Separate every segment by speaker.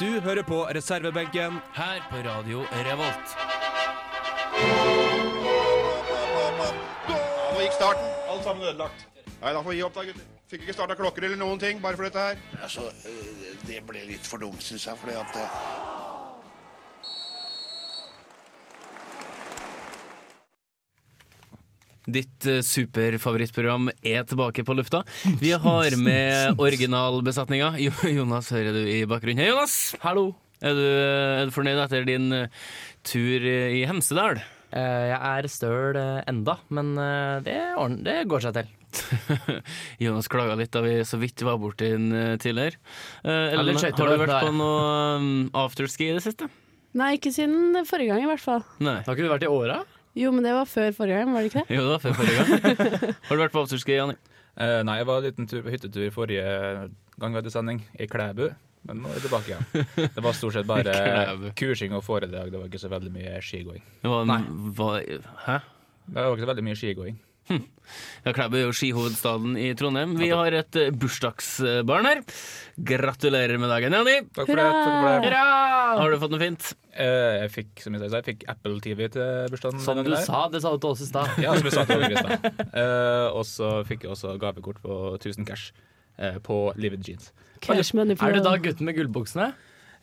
Speaker 1: Du hører på reservebenken.
Speaker 2: Her på Radio Revolt.
Speaker 3: Nå gikk starten.
Speaker 4: Alt sammen ødelagt.
Speaker 3: Nei, da får vi gi opp, da, gutter. Fikk ikke starta klokker eller noen ting, bare for dette her.
Speaker 5: Altså, eh, det ble litt for dumt, syns jeg. Fordi at eh,
Speaker 2: Ditt eh, superfavorittprogram er tilbake på lufta. Vi har med originalbesetninga. Jo- Jonas hører du i bakgrunnen. Hei, Jonas! Hallo. Er du, er du fornøyd etter din eh, tur i Hemsedal?
Speaker 6: Eh, Jeg er støl eh, enda, men eh, det, ordn- det går seg til.
Speaker 2: Jonas klaga litt da vi så vidt var borti den eh, tidligere. Eh,
Speaker 6: Ja,
Speaker 2: Ellen,
Speaker 6: den skøyter
Speaker 2: har du
Speaker 6: over
Speaker 2: vært
Speaker 6: der.
Speaker 2: på noe um, afterski i det siste?
Speaker 7: Nei, ikke siden forrige gang i hvert fall.
Speaker 2: Nei.
Speaker 6: Har ikke du vært i åra?
Speaker 7: Jo, men det var før forrige gang, var det ikke det?
Speaker 2: Jo, det var før forrige gang. Har du vært på afterski, Janni?
Speaker 4: Eh, nei, jeg var en liten tur på hyttetur forrige gang vi hadde sending, i Klæbu. Men nå er jeg tilbake igjen. Det var stort sett bare
Speaker 2: Klæbu.
Speaker 4: kursing og foredrag. Det var ikke så veldig mye skigåing.
Speaker 2: Det var, var, hæ?
Speaker 4: Det var ikke så veldig mye skigåing.
Speaker 2: Ja, Klæbu er jo skihovedstaden i Trondheim. Vi har et eh, bursdagsbarn her. Gratulerer med dagen, Janni.
Speaker 4: Takk for det. Takk for det.
Speaker 2: Har du fått noe fint?
Speaker 4: Eh, jeg fikk som jeg sa, jeg fikk Apple TV til bursdagen.
Speaker 6: Som
Speaker 4: den
Speaker 6: du
Speaker 4: gangen der.
Speaker 6: sa, det sa du til oss i stad.
Speaker 4: Ja, som jeg sa til deg, Kristian. Eh, og så fikk jeg også gavekort på 1000 cash eh, på Livid Jeans.
Speaker 7: Cash money for
Speaker 6: Er du da gutten med gullbuksene?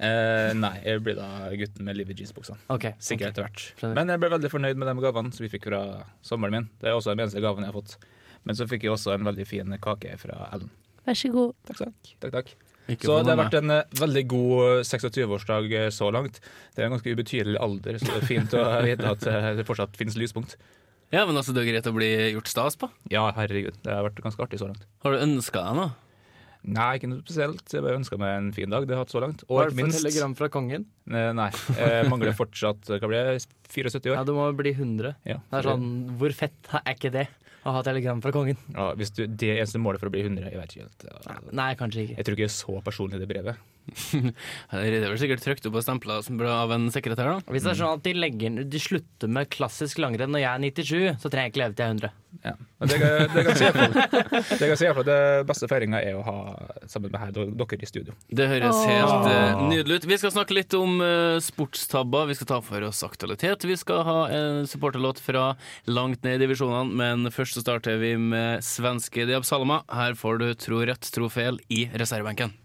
Speaker 4: Eh, nei, jeg blir da gutten med Livid Jeans-buksa.
Speaker 6: Ok,
Speaker 4: Sikkert etter hvert.
Speaker 6: Skjønner.
Speaker 4: Men jeg ble veldig fornøyd med de gavene som vi fikk fra sommeren min. Det er også den eneste gaven jeg har fått. Men så fikk jeg også en veldig fin kake fra Ellen.
Speaker 7: Vær så god.
Speaker 4: Takk, takk. takk, takk. Så det har vært en eh, veldig god 26-årsdag eh, så langt. Det er en ganske ubetydelig alder, så det er fint å vite at eh, det fortsatt finnes lyspunkt.
Speaker 2: Ja, men altså, det er greit å bli gjort stas på.
Speaker 4: Ja, herregud, det har vært ganske artig så langt.
Speaker 2: Har du ønska deg noe?
Speaker 4: Nei, ikke noe spesielt. Jeg bare ønska meg en fin dag. Det har jeg hatt så langt. Og
Speaker 6: Har du
Speaker 4: ikke
Speaker 6: fått
Speaker 4: minst eh,
Speaker 6: telegram fra kongen?
Speaker 4: Nei. Jeg mangler fortsatt eh, hva blir det, 74
Speaker 6: Ja,
Speaker 4: år.
Speaker 6: du må bli 100.
Speaker 4: Ja,
Speaker 6: Det er sånn, hvor fett er ikke det? Å ha telegram fra kongen?
Speaker 4: ja, hvis du, det er eneste målet for å bli 100, jeg vet ikke helt. Ja.
Speaker 6: Nei, kanskje ikke.
Speaker 4: Jeg tror ikke jeg så personlig det brevet.
Speaker 2: Ja, Det er vel sikkert trykt opp og stempla av en sekretær, da.
Speaker 6: Hvis det er sånn at de, legger, inn- de slutter med klassisk langrenn når jeg er 97, så trenger jeg ikke leve til jeg er 100.
Speaker 4: Ja. Men det kan, det kan si i hvert fall. Det kan si i hvert fall det beste feiringa er å ha sammen med her, dere i studio.
Speaker 2: Det høres helt eh, nydelig ut. Vi skal snakke litt om eh, sportstabber. Vi skal ta for oss aktualitet. Vi skal ha en supporterlåt fra langt ned i divisjonene, men først så starter vi med svenske Diab Salama. Her får du Tro rett, tro feil i reservebenken.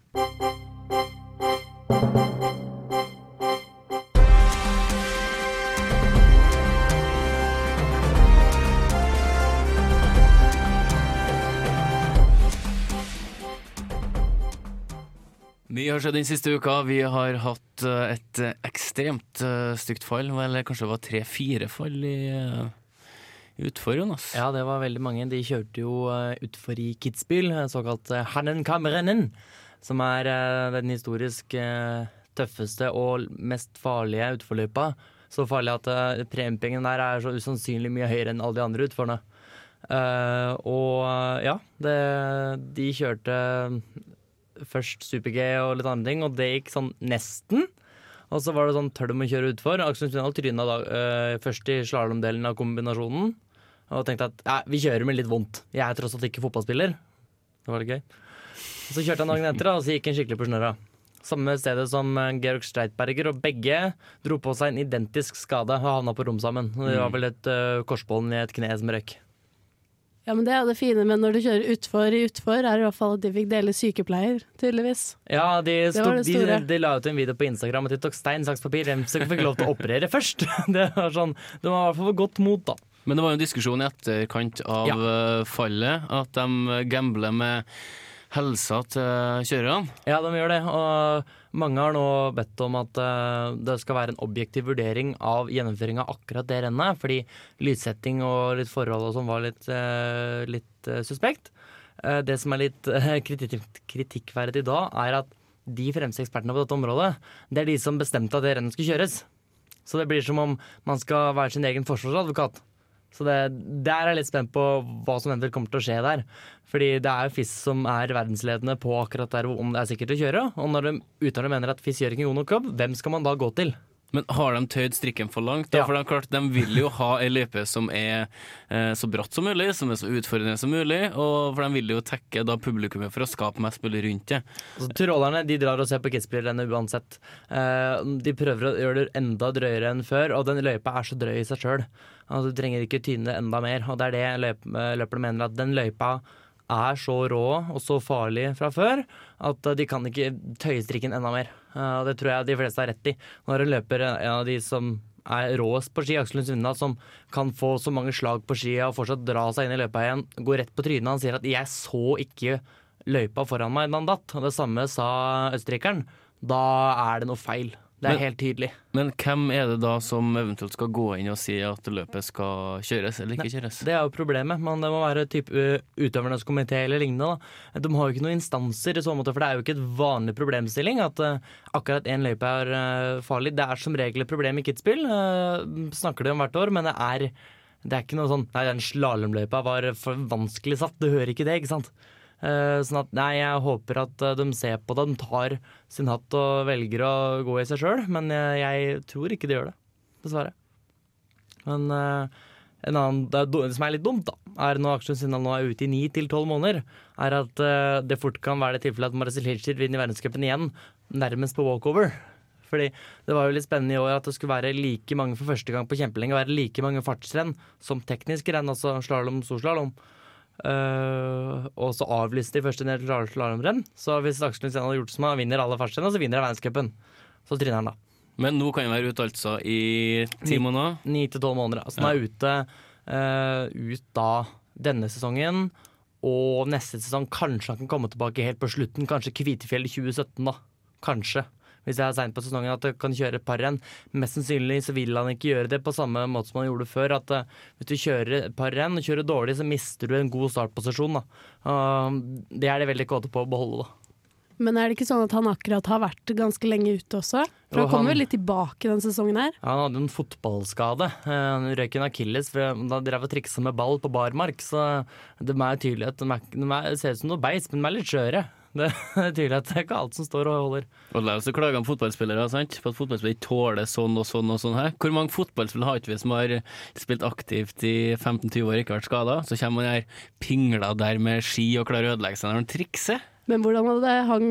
Speaker 2: Mye har skjedd den siste uka. Vi har hatt eh, et eh, ekstremt eh, stygt fall. Vel, kanskje det var tre-fire fall i eh, utfor, Jonas.
Speaker 6: Ja, det var veldig mange. De kjørte jo eh, utfor i Kitzbühel, eh, såkalt eh, Hannenkammrennen, som er eh, den historisk eh, tøffeste og l- mest farlige utforløypa. Så farlig at eh, preempingen der er så usannsynlig mye høyere enn alle de andre utforene. Eh, og eh, ja, det, de kjørte eh, først super-G og litt andre ting, og det gikk sånn nesten. Og så var det sånn tør de å kjøre utfor. Aksel Svindal tryna da, eh, først i slalåmdelen av kombinasjonen. Og tenkte at «Nei, vi kjører med litt vondt. Jeg er tross alt ikke fotballspiller. Det var litt gøy. Og så kjørte han dagen etter, da, og så gikk han skikkelig på snørra. Samme stedet som eh, Georg Streitberger, og begge dro på seg en identisk skade og havna på rom sammen. Og
Speaker 7: Mm.
Speaker 6: Det var vel et uh, korsbånd i et kne som røk.
Speaker 7: Ja, men det er jo det fine med når du kjører utfor i utfor, er i hvert fall at de fikk dele sykepleier, tydeligvis.
Speaker 6: Ja, de,
Speaker 7: var
Speaker 6: sto,
Speaker 7: det
Speaker 6: de,
Speaker 7: store.
Speaker 6: de la ut en video på Instagram og de tok stein, saks, papir. Hvem som fikk lov til å operere først? Det var sånn, De var i hvert fall for godt mot, da.
Speaker 2: Men det var jo en diskusjon i etterkant av eh, fallet, at de gambler med helsa til kjørerne.
Speaker 6: Ja, de gjør det. Og mange har nå bedt om at eh, det skal være en objektiv vurdering av gjennomføring av akkurat det rennet, fordi lydsetting og litt forhold og sånn var litt, eh, litt eh, suspekt. Eh, det som er litt eh, kritikk, kritikkverdig da, er at de fremste ekspertene på dette området, det er de som bestemte at det rennet skulle kjøres. Så det blir som om man skal være sin egen forsvarsadvokat. Så det, der er jeg litt spent på hva som eventuelt kommer til å skje der. Fordi det er jo FIS som er verdensledende på akkurat der hvor- om det er sikkert å kjøre. Og når de uttaler mener at FIS gjør ikke en god nok jobb, hvem skal man da gå til?
Speaker 2: Men har de tøyd strikken for langt? Da?
Speaker 6: Ja.
Speaker 2: For de, er klart, de vil jo ha ei løype som er eh, så bratt som mulig, som er så utfordrende som mulig. Og for de vil jo tekke da publikummet for å skape mest mulig rundt det.
Speaker 6: Altså, Tyrolerne de drar og ser på Kitzbühel-rennet uansett. Eh, de prøver å gjøre det enda drøyere enn før, og den løypa er så drøy i seg sjøl. Altså, du trenger ikke tyne det enda mer, og det er det løp, eh, løperne mener, at den løypa er så rå og så farlig fra før at eh, de kan ikke tøye strikken enda mer. Eh, og det tror jeg de fleste har rett i. Når en løper er en av de som er råest på ski, Aksel Lund Svindal, som kan få så mange slag på skia og fortsatt dra seg inn i løypa igjen, går rett på trynet. Han sier at 'jeg så ikke løypa foran meg da han datt. Og det samme sa østerrikeren. Da er det noe feil. Det er
Speaker 2: Men-
Speaker 6: helt tydelig.
Speaker 2: Men hvem er det da som eventuelt skal gå inn og si at løpet skal kjøres eller ikke kjøres?
Speaker 6: Det er jo problemet. Men det må være typ, ø, utøvernes komité eller lignende. Da. De har jo ikke noen instanser i så måte, for det er jo ikke et vanlig problemstilling at ø, akkurat én løype er ø, farlig. Det er som regel et problem i Kitzbühel. ø, snakker de om hvert år, men det er det er ikke noe sånn Nei, den slalåmløypa var for vanskelig satt. Du hører ikke det, ikke sant? Eh, Sånn at nei, jeg håper at eh, de ser på det. De tar sin hatt og velger å gå i seg sjøl, men jeg, jeg tror ikke de gjør det. Dessverre. Men eh, en annen, det, er do- det som er litt dumt, da, er når Aksel Sindal nå er ute i ni til tolv måneder, er at eh, det fort kan være det tilfellet at Marcel Hirscher vinner verdenscupen igjen, nærmest på walkover. Fordi det var jo litt spennende i år at det skulle være like mange for første gang på kjempelenge, være like mange fartsrenn som tekniske renn, altså slalåm, storslalåm. Eh, og så avlyste de første del til slalåmrenn. Så hvis Aksel Lundsen hadde gjort som han vinner alle fartsrennene, så vinner han verdenscupen. Så tryner han, da.
Speaker 2: Men nå kan han være ute altså i ti
Speaker 6: Ni-
Speaker 2: måneder.
Speaker 6: Ni til tolv måneder. Altså han er ute eh, ut da denne sesongen. Og neste sesong kanskje han kan komme tilbake helt på slutten. Kanskje Kvitefjell i 2017, da. Kanskje. Hvis det er seint på sesongen at det kan kjøre et par renn. Mest sannsynlig så vil han ikke gjøre det på samme måte som han gjorde før. At eh, hvis du kjører et par renn og kjører dårlig, så mister du en god startposisjon. Da. Eh, det er de veldig kåte på å beholde, da.
Speaker 7: Men er det ikke sånn at han akkurat har vært ganske lenge ute også? For
Speaker 6: Jo,
Speaker 7: han kommer
Speaker 6: han-
Speaker 7: jo litt tilbake denne sesongen her.
Speaker 6: Ja, han hadde en fotballskade. Eh, Han røyk en akilles for da drev og triksa med ball på barmark. Så det er tydelig at de, er, de er, ser ut som noe beis, men de er litt skjøre. Det er tydelig at det er ikke alt som står og holder.
Speaker 2: Og likevel så klager han fotballspillere sant? på at fotballspillere ikke tåler sånn og sånn og sånn her. Hvor mange fotballspillere har ikke vi som har spilt aktivt i 15-20 år og ikke vært skada? Så kommer han her pingla der med ski og klarer å ødelegge seg når han trikser.
Speaker 7: Men hvordan hadde hang,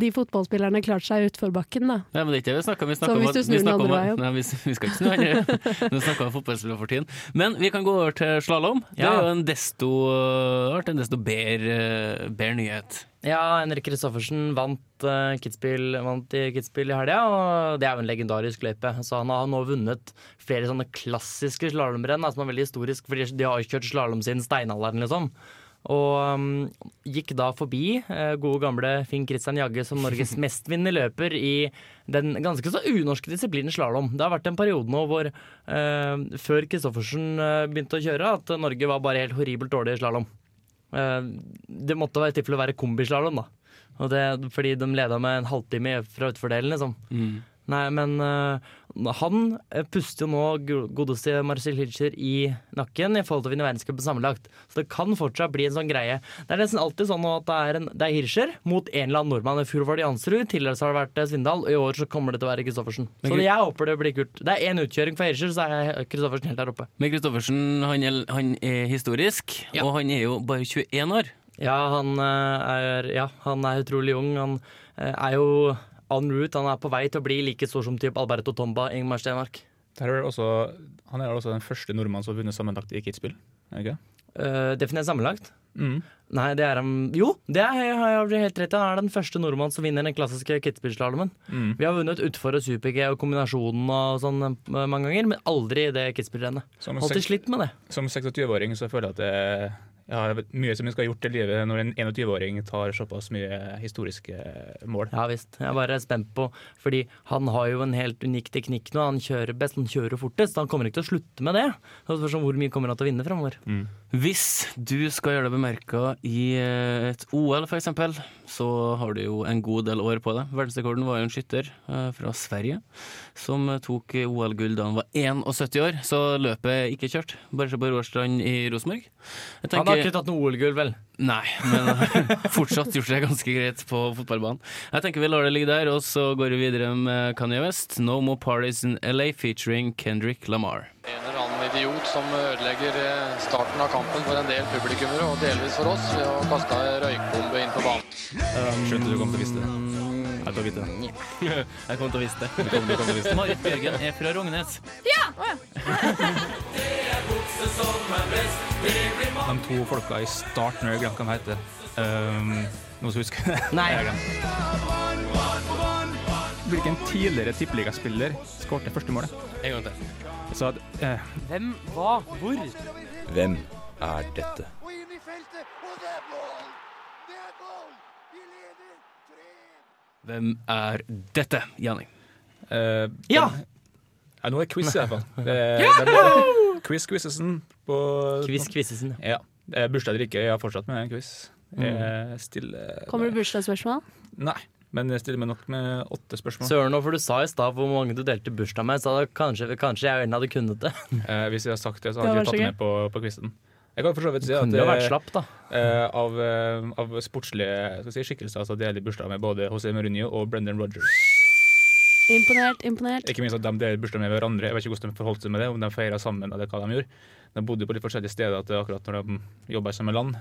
Speaker 7: de fotballspillerne klart seg utfor bakken da?
Speaker 2: Nei, men det er ikke det vi snakker om. Vi
Speaker 7: Så
Speaker 2: snakker om
Speaker 7: hvis
Speaker 2: at-
Speaker 7: du snur
Speaker 2: vi
Speaker 7: den
Speaker 2: snakker om
Speaker 7: andre
Speaker 2: at-
Speaker 7: veien?
Speaker 2: Nei, vi, vi skal ikke snu andre. Nå snakker vi om fotballspillere for tiden. Men vi kan gå over til slalåm. Det
Speaker 6: Ja.
Speaker 2: er jo en desto, det har vært en desto bedre, bedre nyhet.
Speaker 6: Ja, Henrik Kristoffersen vant, eh, Kitzbühel, vant i Kitzbühel i helga, og det er jo en legendarisk løype. Så han har nå vunnet flere sånne klassiske slalåmrenn, da, som er veldig historisk, fordi de har jo kjørt slalåm siden steinalderen, liksom. Og um, gikk da forbi eh, gode gamle Finn Christian Jagge som Norges mestvinnende løper i den ganske så unorske disiplinen slalåm. Det har vært en periode nå hvor, eh, før Kristoffersen eh, begynte å kjøre, at Norge var bare helt horribelt dårlig i slalåm. Eh, det måtte være tilfelle å være kombislalåm, da. Og det, fordi de leda med en halvtime fra utfordelen, liksom. Nei, men eh, han eh, puster jo nå go- godeste Marcel Hilscher i nakken i forhold til å vinne verdenscupen sammenlagt. Så det kan fortsatt bli en sånn greie. Det er nesten alltid sånn nå at det er, en, det er Hirscher mot en eller annen nordmann. I fjor var det Jansrud, tidligere så har det vært eh, Svindal, og i år så kommer det til å være Kristoffersen. Så
Speaker 2: Men Kri-
Speaker 6: jeg håper det blir kult. Det er én utkjøring for Hirscher, så er Kristoffersen helt der oppe.
Speaker 2: Men Kristoffersen han er, han er historisk, og han er jo bare 21 år.
Speaker 6: Ja, han eh, er, ja, han er utrolig ung. Han eh, er jo en route. Han er på vei til å bli like stor som typ Alberto Tomba, Ingmar Stenmark.
Speaker 4: Der er det også, han er vel også den første nordmannen som har vunnet sammenlagt i Kitzbühel. er det ikke det?
Speaker 6: Uh, Definert sammenlagt?
Speaker 4: Mm.
Speaker 6: Nei, det er han Jo, det er, har jeg helt rett i. Han er den første nordmannen som vinner den klassiske Kitzbühel-slalåmen. Vi har vunnet utfor og super-G og kombinasjonen og sånn eh, mange ganger, men aldri det Kitzbühel-rennet.
Speaker 4: Som,
Speaker 6: Alltid
Speaker 4: sek-
Speaker 6: slitt med det.
Speaker 4: som 26-åring så føler jeg at det jeg har mye som jeg skal ha gjort i livet når en 21-åring tar såpass mye historiske mål.
Speaker 6: Ja visst. Jeg er bare spent på Fordi han har jo en helt unik teknikk nå. Han kjører best, han kjører fortest. Han kommer ikke til å slutte med det. Så det spørs om hvor mye kommer han til å vinne fremover.
Speaker 2: Hvis du skal gjøre deg bemerka i eh, et OL, f.eks., så har du jo en god del år på deg. Verdensrekorden var jo en skytter eh, fra Sverige som eh, tok OL-gull da han var 71 år, så løpet er ikke kjørt. Bare se på Roarstrand i Rosenborg. Jeg
Speaker 6: Han har ikke tatt noe OL-gull, vel?
Speaker 2: Nei, men har fortsatt gjort det ganske greit på fotballbanen. Jeg tenker vi lar det ligge der, og så går vi videre med Kanye West. No More Parties in LA featuring Kendrick Lamar.
Speaker 8: En eller annen idiot som ødelegger eh, starten av kampen for en del publikummere, og delvis for oss, ved å kaste ei røykbombe inn på banen. Mm,
Speaker 4: Skjønte du kom til å vise det. Jeg tar vite det.
Speaker 2: Jeg kom til å vise det.
Speaker 4: Du kom, du kom til å vise det.
Speaker 2: Marit Bjørgen er fra Rognes.
Speaker 4: De to folka i starten, jeg glemte hva de heter. Um, noen som husker det?
Speaker 6: Nei.
Speaker 4: Jeg har glemt. Hvilken tidligere tippeligaspiller skåret første målet?
Speaker 2: En gang til.
Speaker 4: Så at, eh,
Speaker 6: Hvem, hva, hvor?
Speaker 9: Hvem er dette?
Speaker 5: Og inn i feltet, og det er mål! Det er mål! Vi leder 3-1.
Speaker 2: Hvem er dette, Janni?
Speaker 4: eh,
Speaker 6: Ja!
Speaker 4: ja, nå er det quiz i hvert fall. Det er- det er- Quiz Quizesen på
Speaker 6: Quiz Quizzesen.
Speaker 4: Ja. Eh, Bursdag eller ikke, jeg har fortsatt med en quiz.
Speaker 6: Mm.
Speaker 4: Jeg stiller
Speaker 7: Kommer det bursdagsspørsmål?
Speaker 4: Nei, men jeg stiller med nok med åtte spørsmål.
Speaker 6: Søren, nå, for du sa i stad hvor mange du delte bursdag med, så hadde kanskje, kanskje jeg og Ellen hadde kunnet det.
Speaker 4: Eh, hvis jeg har sagt det,
Speaker 7: Det
Speaker 4: så
Speaker 7: var
Speaker 4: hadde jeg ikke tatt
Speaker 7: så
Speaker 4: det
Speaker 7: gøy.
Speaker 4: med på, på quizen. Jeg kan for så vidt si at
Speaker 6: Kunne jo
Speaker 4: eh,
Speaker 6: vært slapp, da.
Speaker 4: eh, av, eh, av sportslige skal jeg si, skikkelser så deler bursdag med både José Mourinho og Brendan Rodgers.
Speaker 7: Imponert, imponert.
Speaker 4: Ikke minst at de deler bursdag med hverandre. Jeg vet ikke hvordan de forholdt seg med det, om de feira sammen eller hva de gjorde. De bodde på litt forskjellige steder til akkurat når de jobba i samme land.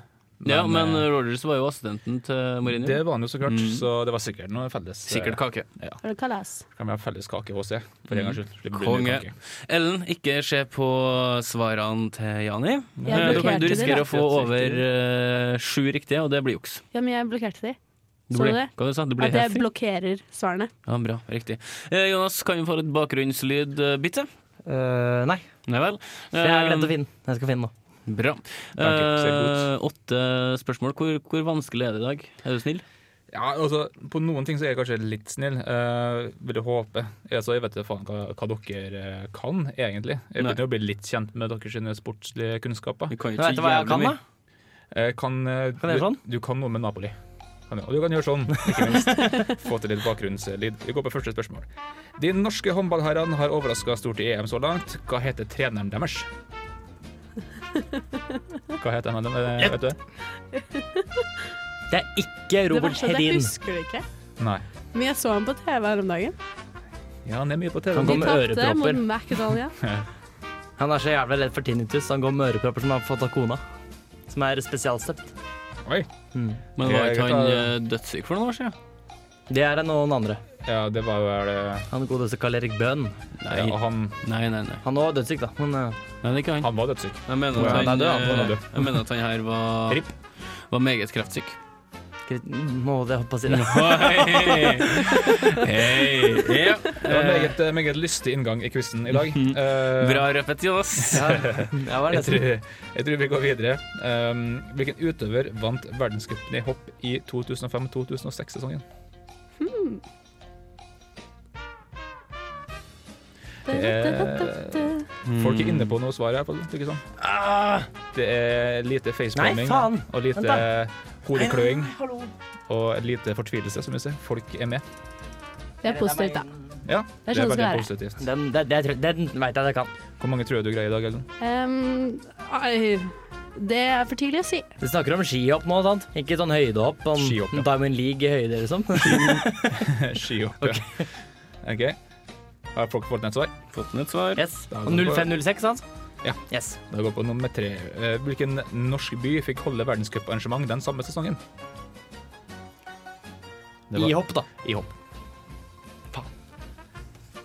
Speaker 2: Ja, men
Speaker 4: eh,
Speaker 2: Rogers var jo assistenten til Mourinho.
Speaker 4: det var han jo så klart,
Speaker 2: Mm.
Speaker 4: så det var sikkert noe felles. eh,
Speaker 2: Sikkert kake.
Speaker 7: Var det kalas?
Speaker 4: Kan vi ha felles kake i HC? For en gangs skyld. Slipper du
Speaker 2: Konge.
Speaker 4: mye kake.
Speaker 2: Ellen, ikke se på svarene til Jani.
Speaker 7: Jeg
Speaker 2: Eh, Du, kan, du
Speaker 7: blokkerte det,
Speaker 2: risikerer
Speaker 7: da.
Speaker 2: å få over eh, sju riktige, og det blir juks.
Speaker 7: Ja, men jeg blokkerte de.
Speaker 2: Du
Speaker 7: Så du
Speaker 2: blir-
Speaker 7: det?
Speaker 2: Hva du sa du? Du blir
Speaker 7: At jeg
Speaker 2: heftig?
Speaker 7: blokkerer svarene.
Speaker 2: Ja, bra. Riktig. Eh, Jonas, kan vi få litt bakgrunnslyd, eh, bitte?
Speaker 6: Eh, nei,
Speaker 2: Nei vel.
Speaker 6: jeg har
Speaker 2: Eh,
Speaker 6: glemt å finne den. Jeg skal finne den nå.
Speaker 2: Bra.
Speaker 4: Takk, ser
Speaker 2: Eh,
Speaker 4: godt.
Speaker 2: åtte spørsmål. Hvor, hvor vanskelig er det i dag? Er du snill?
Speaker 4: Ja, altså, På noen ting så er jeg kanskje litt snill, eh, vil jeg håpe. Altså, jeg vet ikke faen hva, hva dere eh, kan, egentlig. Jeg
Speaker 2: Nei.
Speaker 4: begynner jo å bli litt kjent med deres sine sportslige kunnskaper.
Speaker 2: Du kan jo
Speaker 6: Men Vet du hva jeg kan, da?
Speaker 4: Jeg kan, eh,
Speaker 6: Kan jeg
Speaker 4: du,
Speaker 6: gjøre sånn?
Speaker 4: Du kan noe med Napoli. Kan jeg- Og du kan gjøre sånn, ikke minst. Få til litt bakgrunnslyd. Vi går på første spørsmål. De norske håndballherrene har overraska stort i EM så langt. Hva heter treneren deres? Hva heter han? eh, Vet du? det?
Speaker 6: Det er ikke
Speaker 7: Det
Speaker 6: Robert
Speaker 7: verste er at jeg
Speaker 6: Hedin.
Speaker 7: husker det ikke.
Speaker 4: Nei.
Speaker 7: Men jeg så han på TV her om dagen.
Speaker 4: Ja, han er mye på TV.
Speaker 6: Han
Speaker 7: De
Speaker 6: går med
Speaker 7: tapte
Speaker 6: ørepropper.
Speaker 7: mot Macedonia.
Speaker 6: Han er så jævlig redd for tinnitus. Han går med ørepropper som han har fått av kona. Som er spesialstøpt.
Speaker 4: Oi.
Speaker 2: Men var
Speaker 4: Jeg
Speaker 2: ikke
Speaker 4: tar-
Speaker 2: han eh, dødssyk for noen år siden?
Speaker 6: Det er noen andre.
Speaker 4: Ja, det var vel eh,
Speaker 6: Han godeste Karl Erik Bøhn.
Speaker 4: ja, og han,
Speaker 2: Nei, nei, nei.
Speaker 6: Han var dødssyk, da. Men eh,
Speaker 2: nei det er ikke han.
Speaker 4: han var dødssyk.
Speaker 2: Jeg mener
Speaker 4: Ja,
Speaker 2: at
Speaker 4: han
Speaker 2: han,
Speaker 4: er død, han. Han er
Speaker 2: eh,
Speaker 4: død.
Speaker 2: jeg mener at han her var,
Speaker 4: Ripp.
Speaker 2: var meget kreftsyk.
Speaker 6: krit- nå holdt jeg på å si det.
Speaker 2: Hei! Ja.
Speaker 4: Det var en meget, eh, meget lystig inngang i quizen i dag. Eh,
Speaker 2: Bra røpet, Jonas.
Speaker 6: Ja, jeg var
Speaker 4: Jeg tror,
Speaker 6: nesten.
Speaker 4: jeg tror vi går videre. Um, hvilken utøver vant verdenscupen i hopp i 2005-2006-sesongen? Eh, Folk er inne på noe svar her. på det, Ikke sant? Det er lite
Speaker 6: Nei,
Speaker 4: facepalming
Speaker 6: faen! Vent
Speaker 4: og lite
Speaker 6: da.
Speaker 4: hodekløing og et lite fortvilelse, som vi ser. Folk er med.
Speaker 7: Det er positivt, da.
Speaker 4: Ja,
Speaker 7: Det er sånn det
Speaker 4: veldig
Speaker 7: skal være.
Speaker 4: positivt.
Speaker 6: Den, den, den, den veit jeg at jeg kan.
Speaker 4: Hvor mange tror jeg du greier i dag, Ellen?
Speaker 7: Ehm, ai, det er for tidlig å si.
Speaker 6: Du snakker om skihopp nå, sant? Ikke sånn høydehopp. Sånn
Speaker 4: Skihopp, ja.
Speaker 6: Diamond League i høyde, liksom.
Speaker 4: Skihopp. ja. Ok. Har folk fått et svar?
Speaker 2: Fått ned et svar.
Speaker 6: Yes. Og 0506, sant?
Speaker 4: Ja.
Speaker 6: Yes.
Speaker 4: Da går vi på nummer tre. Eh, Hvilken norsk by fikk holde verdenscuparrangement den samme sesongen? Det var-
Speaker 6: I hopp, da.
Speaker 4: I hopp. Faen.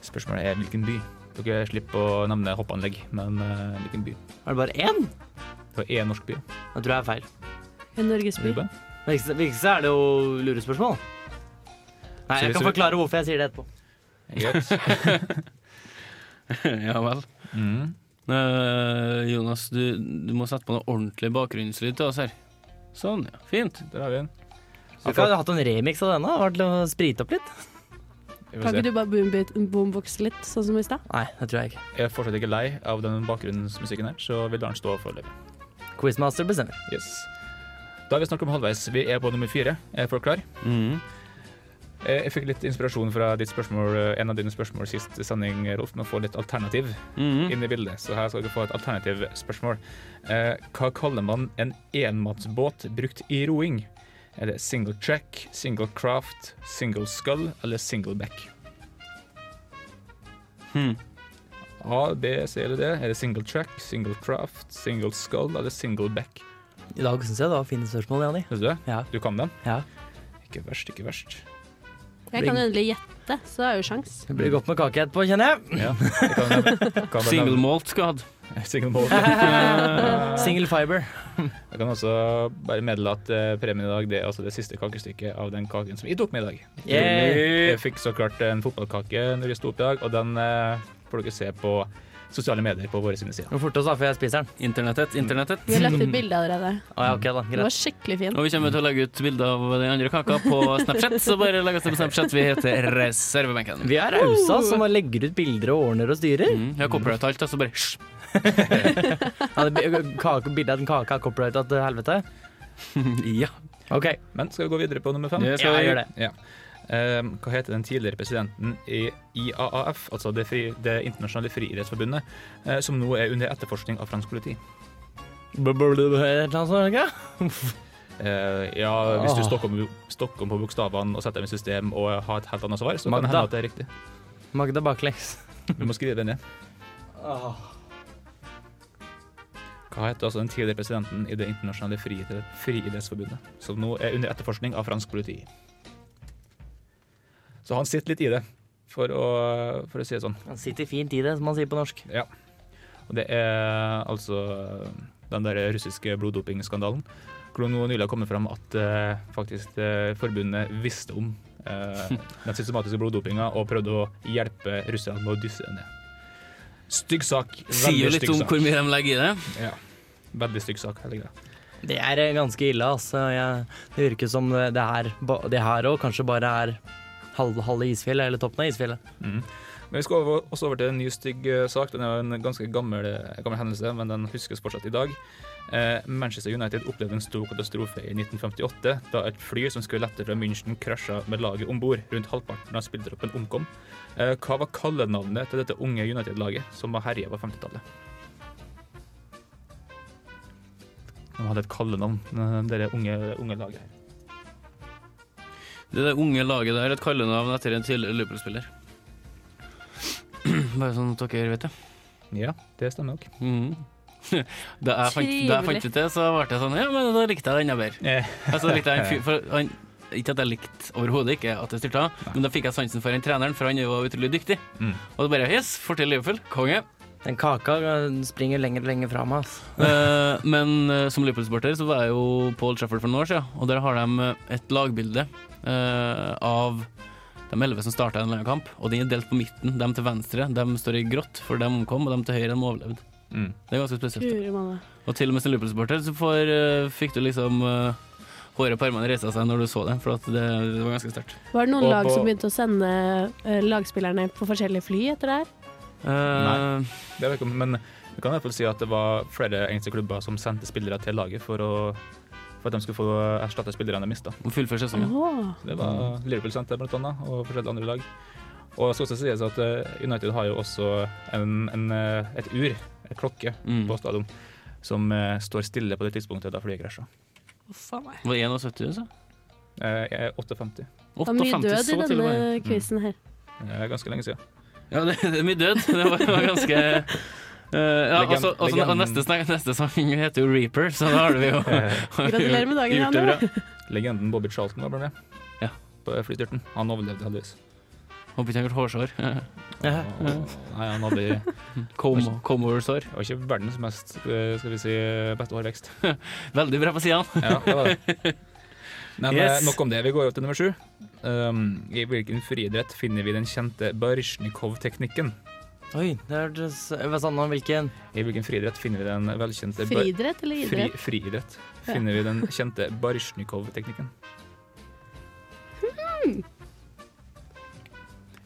Speaker 4: Spørsmålet er hvilken by. Dere slipper å nevne hoppanlegg, men eh, hvilken by?
Speaker 6: Er det bare én?
Speaker 4: Det var én norsk by.
Speaker 6: Det tror jeg er feil.
Speaker 7: En norgesby.
Speaker 4: Ruben?
Speaker 6: Det viktigste- det viktigste er det jo lurespørsmål. Nei,
Speaker 4: Så
Speaker 6: jeg
Speaker 4: hvis
Speaker 6: kan
Speaker 4: vi-
Speaker 6: forklare hvorfor jeg sier det etterpå.
Speaker 4: Greit.
Speaker 2: Ja vel.
Speaker 4: Mm.
Speaker 2: Eh, Jonas, du, du må sette på noe ordentlig bakgrunnslyd til oss her. Sånn, ja. Fint.
Speaker 4: Der har vi den.
Speaker 6: Vi kunne hatt en remix av denne. Vært til å sprite opp litt.
Speaker 4: Vi får
Speaker 7: Kan
Speaker 4: se.
Speaker 7: ikke du bare boombe- boomboxe litt, sånn som i stad?
Speaker 6: Nei, det tror jeg ikke.
Speaker 4: Jeg er fortsatt ikke lei av den bakgrunnsmusikken her, så vi lar den stå foreløpig.
Speaker 6: Quizmaster bestemmer.
Speaker 4: Yes. Da er vi snart kommet halvveis. Vi er på nummer fire. Er folk klar?
Speaker 2: Mhm.
Speaker 4: Eh, Jeg fikk litt inspirasjon fra ditt spørsmål, eh, en av dine spørsmål sist sending, Rolf, med å få litt alternativ
Speaker 6: Mm.
Speaker 2: Mhm.
Speaker 4: inn i bildet. Så her skal du få et alternativ spørsmål. Eh, Hva kaller man en enmatsbåt brukt i roing? Er det single track, single craft, single skull eller single back?
Speaker 2: Hmm.
Speaker 4: A, B, C eller D? Er det single track, single craft, single skull eller single back?
Speaker 6: I dag syns jeg det var fine spørsmål, Jani.
Speaker 4: Synes du det?
Speaker 6: Ja.
Speaker 4: Du kan den?
Speaker 6: Ja.
Speaker 4: Ikke verst, ikke verst.
Speaker 7: Jeg kan endelig gjette, så er jo sjans.
Speaker 6: Det blir godt med kake etterpå, kjenner jeg.
Speaker 4: Ja, jeg kan den. Kan den.
Speaker 2: Single malt skal ha hatt.
Speaker 4: Single malt.
Speaker 6: Single fiber.
Speaker 4: Jeg kan også bare meddele at eh, premien i dag det er altså det siste kakestykket av den kaken som jeg tok med i dag.
Speaker 6: Yeah.
Speaker 4: Jeg fikk så klart en fotballkake når jeg sto opp i dag, og den eh, får dere se på sosiale medier på våre sine sider.
Speaker 6: Gå fort oss, da, før jeg spiser den.
Speaker 2: Internettet, internettet.
Speaker 7: Vi har lagt ut bilde allerede.
Speaker 6: Å, ja, ok da,
Speaker 7: Den
Speaker 6: greit.
Speaker 7: var skikkelig fin.
Speaker 2: Og vi kommer til å legge ut bilder av den andre kaka på Snapchat, så bare legg oss til på Snapchat. Vi heter Reservebenken.
Speaker 6: Vi er rause, som legger ut bilder og ordner og styrer.
Speaker 2: Mm, jeg har copyright alt, så bare hysj.
Speaker 6: Ja, det bi- kake, bildet av en kake er copyrighta til helvete.
Speaker 2: Ja.
Speaker 6: OK,
Speaker 4: Men skal vi gå videre på nummer fem?
Speaker 2: Det
Speaker 6: ja,
Speaker 2: skal vi
Speaker 6: jeg gjør
Speaker 2: gjøre.
Speaker 6: det.
Speaker 4: Ja. Eh, hva heter den tidligere presidenten i IAAF, altså det, fri, det internasjonale friidrettsforbundet, eh, som nå er under etterforskning av fransk politi?
Speaker 6: Blablabla, et eller annet sånt, ikke?
Speaker 4: Eh, ja, hvis du
Speaker 6: Åh.
Speaker 4: stokker om, stokker om på bokstavene og setter dem i system og har et helt annet svar, så kan
Speaker 6: Magda.
Speaker 4: det hende at det er riktig.
Speaker 6: Magda baklengs.
Speaker 4: Du må skrive den ned. Hva heter altså den tidligere presidenten i det internasjonale friidre- friidrettsforbundet, som nå er under etterforskning av fransk politi? Så han sitter litt i det, for å, for å si det sånn.
Speaker 6: Han sitter fint i det, som man sier på norsk.
Speaker 4: Og det er altså den der russiske bloddopingskandalen, hvor det nå nylig har kommet fram at eh, faktisk eh, forbundet visste om eh, den systematiske bloddopinga og prøvde å hjelpe russerne med å dysse det ned. Stygg sak.
Speaker 2: Sier jo litt om hvor mye de legger i det.
Speaker 4: Ja. Veldig stygg sak. hele greia.
Speaker 6: Det er eh, ganske ille, altså. Jeg, det virker som det det her, ba- det her òg kanskje bare er halve, halve isfjellet, eller toppen av isfjellet.
Speaker 4: Men Vi skal over, også over til en ny stygg eh, sak. Den er jo en ganske gammel, eh, gammel hendelse, men den huskes fortsatt i dag. Eh, Manchester United opplevde en stor katastrofe i 1958 da et fly som skulle lette fra München, krasja med laget om bord. Rundt halvparten av spillertroppen omkom. Eh, hva var kallenavnet til dette unge United-laget som var herja på 50-tallet? De hadde et kallenavn, eh, dere unge, unge laget. her.
Speaker 2: Det der unge laget der er et kallenavn etter en tidligere Liverpool-spiller. Bare sånn at dere vet det.
Speaker 4: Ja, det stemmer nok.
Speaker 2: Mhm. Da jeg fant, da jeg fant ut det, så ble jeg sånn Ja, men da likte jeg den jeg bedre.
Speaker 4: Eh,
Speaker 2: Altså, likte jeg en fyr, for han, ikke at jeg likte overhodet ikke at det styrta, men da fikk jeg sansen for den treneren, for han er jo utrolig dyktig.
Speaker 4: Mm.
Speaker 2: Og det bare Yes, får til Liverpool. Konge.
Speaker 6: Den kaka eh, springer lenger og lenger fra meg. Altså.
Speaker 2: Eh, men eh, som Liverpool-supporter så var jeg jo på Old Trafford for noen år siden, og der har de eh, et lagbilde eh, av de elleve som starta en eller annen kamp, og den er delt på midten. De til venstre de står i grått, for de omkom, og de til høyre de overlevde.
Speaker 4: Mm.
Speaker 2: Det er ganske spesielt.
Speaker 7: Guri malla.
Speaker 2: Og til og med som Liverpool-supporter så får, eh, fikk du liksom eh, Håret på armene reiste seg når du så det, for at det, det var ganske sterkt.
Speaker 7: Var det noen
Speaker 4: Og
Speaker 7: lag
Speaker 4: på-
Speaker 7: som begynte å sende eh, lagspillerne på forskjellige fly etter det her?
Speaker 2: Eh,
Speaker 4: Det vet jeg ikke, om, men vi kan i hvert fall si at det var flere engelske klubber som sendte spillere til laget for, å, for at de skulle få erstatte spillerne de mista.
Speaker 2: og fullføre sesongen.
Speaker 7: Åh.
Speaker 4: Det var Liverpool sendte blant annet, og forskjellige andre lag. Og det skal også sies at eh, United har jo også en, en, eh, et ur, en klokke,
Speaker 2: Mm.
Speaker 4: på stadion som eh, står stille på det tidspunktet da flyet krasja.
Speaker 7: Å, faen meg.
Speaker 2: Var det 71, så?
Speaker 4: Eh, Jeg er 58.
Speaker 7: Det var mye
Speaker 2: 58,
Speaker 7: død i
Speaker 2: så til altså. og
Speaker 7: denne
Speaker 2: med.
Speaker 7: quizen her.
Speaker 4: Det er ganske lenge siden.
Speaker 2: Ja, det, det er mye død. Det var, det var ganske eh, ja,
Speaker 4: Legend-
Speaker 2: altså, altså, og
Speaker 4: legenden-
Speaker 2: neste, sang, neste sang heter jo Reaper, så da har vi jo
Speaker 7: Gratulerer med dagen,
Speaker 2: gjort det
Speaker 7: Janne.
Speaker 2: bra.
Speaker 4: Legenden Bobby Charlton var bare med
Speaker 2: Ja.
Speaker 4: på flystyrten. Han overlevde heldigvis.
Speaker 2: Håper ikke han har hårsår.
Speaker 6: Ja.
Speaker 4: Og, nei, han hadde
Speaker 2: Come- Come-over-sår.
Speaker 4: Det var ikke verdens mest eh, skal vi si, beste hårvekst.
Speaker 2: Veldig bra på sidene.
Speaker 4: Ja, det var det. Men eh,
Speaker 2: Yes.
Speaker 4: nok om det. Vi går over til nummer sju. Um, I hvilken friidrett finner vi den kjente Baryshnikov-teknikken?
Speaker 6: Oi, det hørtes Hva sa han om hvilken?
Speaker 4: I hvilken friidrett finner vi den velkjente Bar-
Speaker 7: Friidrett eller
Speaker 4: Fri,
Speaker 7: idrett?
Speaker 4: friidrett finner vi den kjente Baryshnikov-teknikken.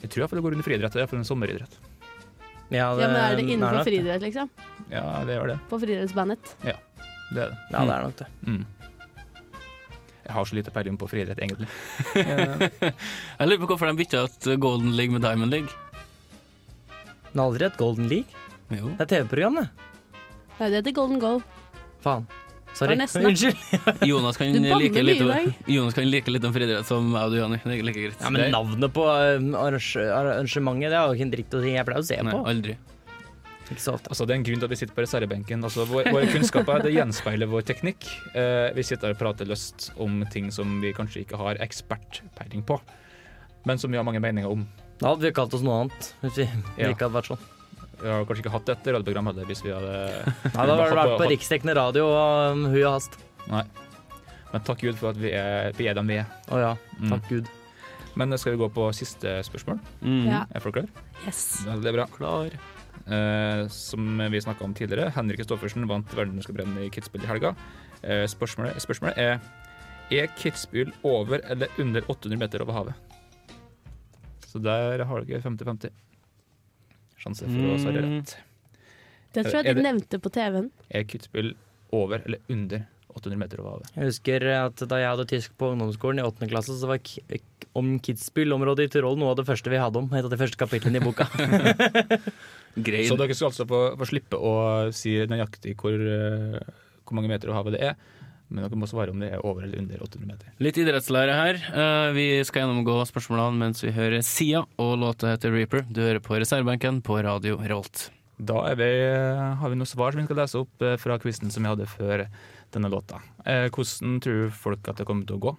Speaker 4: Jeg tror iallfall det går under friidrett. Det er iallfall en sommeridrett.
Speaker 7: Ja, men er det
Speaker 6: nok
Speaker 7: innenfor friidrett, liksom?
Speaker 4: Ja, det gjør det.
Speaker 7: På friidrettsbandet?
Speaker 4: Ja. Det er det.
Speaker 6: Ja, det er nok det.
Speaker 4: Mm. Jeg har så lite peiling på friidrett, egentlig.
Speaker 2: Jeg lurer på hvorfor de bytta ut Golden League med Diamond League.
Speaker 6: Men aldri et Golden League.
Speaker 2: Jo.
Speaker 6: Det er TV-program, det.
Speaker 7: Nei, det heter Golden Goal.
Speaker 6: Faen. Sorry.
Speaker 7: Det var nesten, da.
Speaker 6: Unnskyld.
Speaker 2: Jonas kan
Speaker 7: Du banner
Speaker 2: like
Speaker 7: mye
Speaker 2: litt
Speaker 7: i dag.
Speaker 2: om, Jonas kan like litt om friidrett som jeg og du, Johanny. Det er like greit.
Speaker 6: Ja, men navnet på eh, arrange- arrangementet Det har jo ikke en dritt å si. Jeg pleier å se
Speaker 2: Nei,
Speaker 6: på.
Speaker 2: aldri.
Speaker 6: Ikke så ofte.
Speaker 4: Altså, det er en grunn til at vi sitter på reservebenken. Altså, vår, våre kunnskaper det gjenspeiler vår teknikk. Eh, vi sitter her og prater løst om ting som vi kanskje ikke har ekspertpeiling på, men som vi har mange meninger om.
Speaker 6: Da hadde vi kalt oss noe annet. Hvis vi
Speaker 4: Ja.
Speaker 6: ikke hadde vært sånn.
Speaker 4: Vi har kanskje ikke hatt et radioprogram heller hvis vi hadde
Speaker 6: Nei, da hadde vi
Speaker 4: Hopp-
Speaker 6: vært på
Speaker 4: hopp-
Speaker 6: riksdekkende radio og um, hui og hast.
Speaker 4: Men takk Gud for at vi er, vi er dem vi er.
Speaker 6: Å ja,
Speaker 4: Mm.
Speaker 6: takk gud.
Speaker 4: Men skal vi gå på siste spørsmål?
Speaker 6: Mhm.
Speaker 2: Mm.
Speaker 7: Ja.
Speaker 4: Er folk klare?
Speaker 7: Yes.
Speaker 4: Ja, det er bra. Klar. Eh, som vi snakka om tidligere, Henrik Kristoffersen vant verdensmesterskapsrennet i Kitzbühel i helga. Eh, spørsmålet, spørsmålet er Er Kitzbühel over eller under 800 meter over havet? Så der har dere 50-50 sjanse for å svare
Speaker 2: Mm.
Speaker 4: rett.
Speaker 7: Det tror
Speaker 4: Er
Speaker 7: jeg
Speaker 4: det-
Speaker 7: de nevnte på TV-en.
Speaker 4: Er Kitzbühel over eller under 800 meter over havet?
Speaker 6: Jeg husker at da jeg hadde tysk på ungdomsskolen i åttende klasse, så var k k- om Kitzbühel-området i Tyrol noe av det første vi hadde om. Et av de første kapitlene i boka.
Speaker 2: Grei.
Speaker 4: Så dere skal altså få, få slippe å si nøyaktig hvor, eh, hvor mange meter over havet det er. Men dere må svare om det er over eller under 800 meter.
Speaker 2: Litt idrettslære her. Eh, Vi skal gjennomgå spørsmålene mens vi hører Sia, og låta heter Reaper. Du hører på reservebenken på Radio Rolt.
Speaker 4: Da er vi, har vi noen svar som vi skal lese opp eh, fra quizen som vi hadde før denne låta. Eh, hvordan tror folk at det kommer til å gå?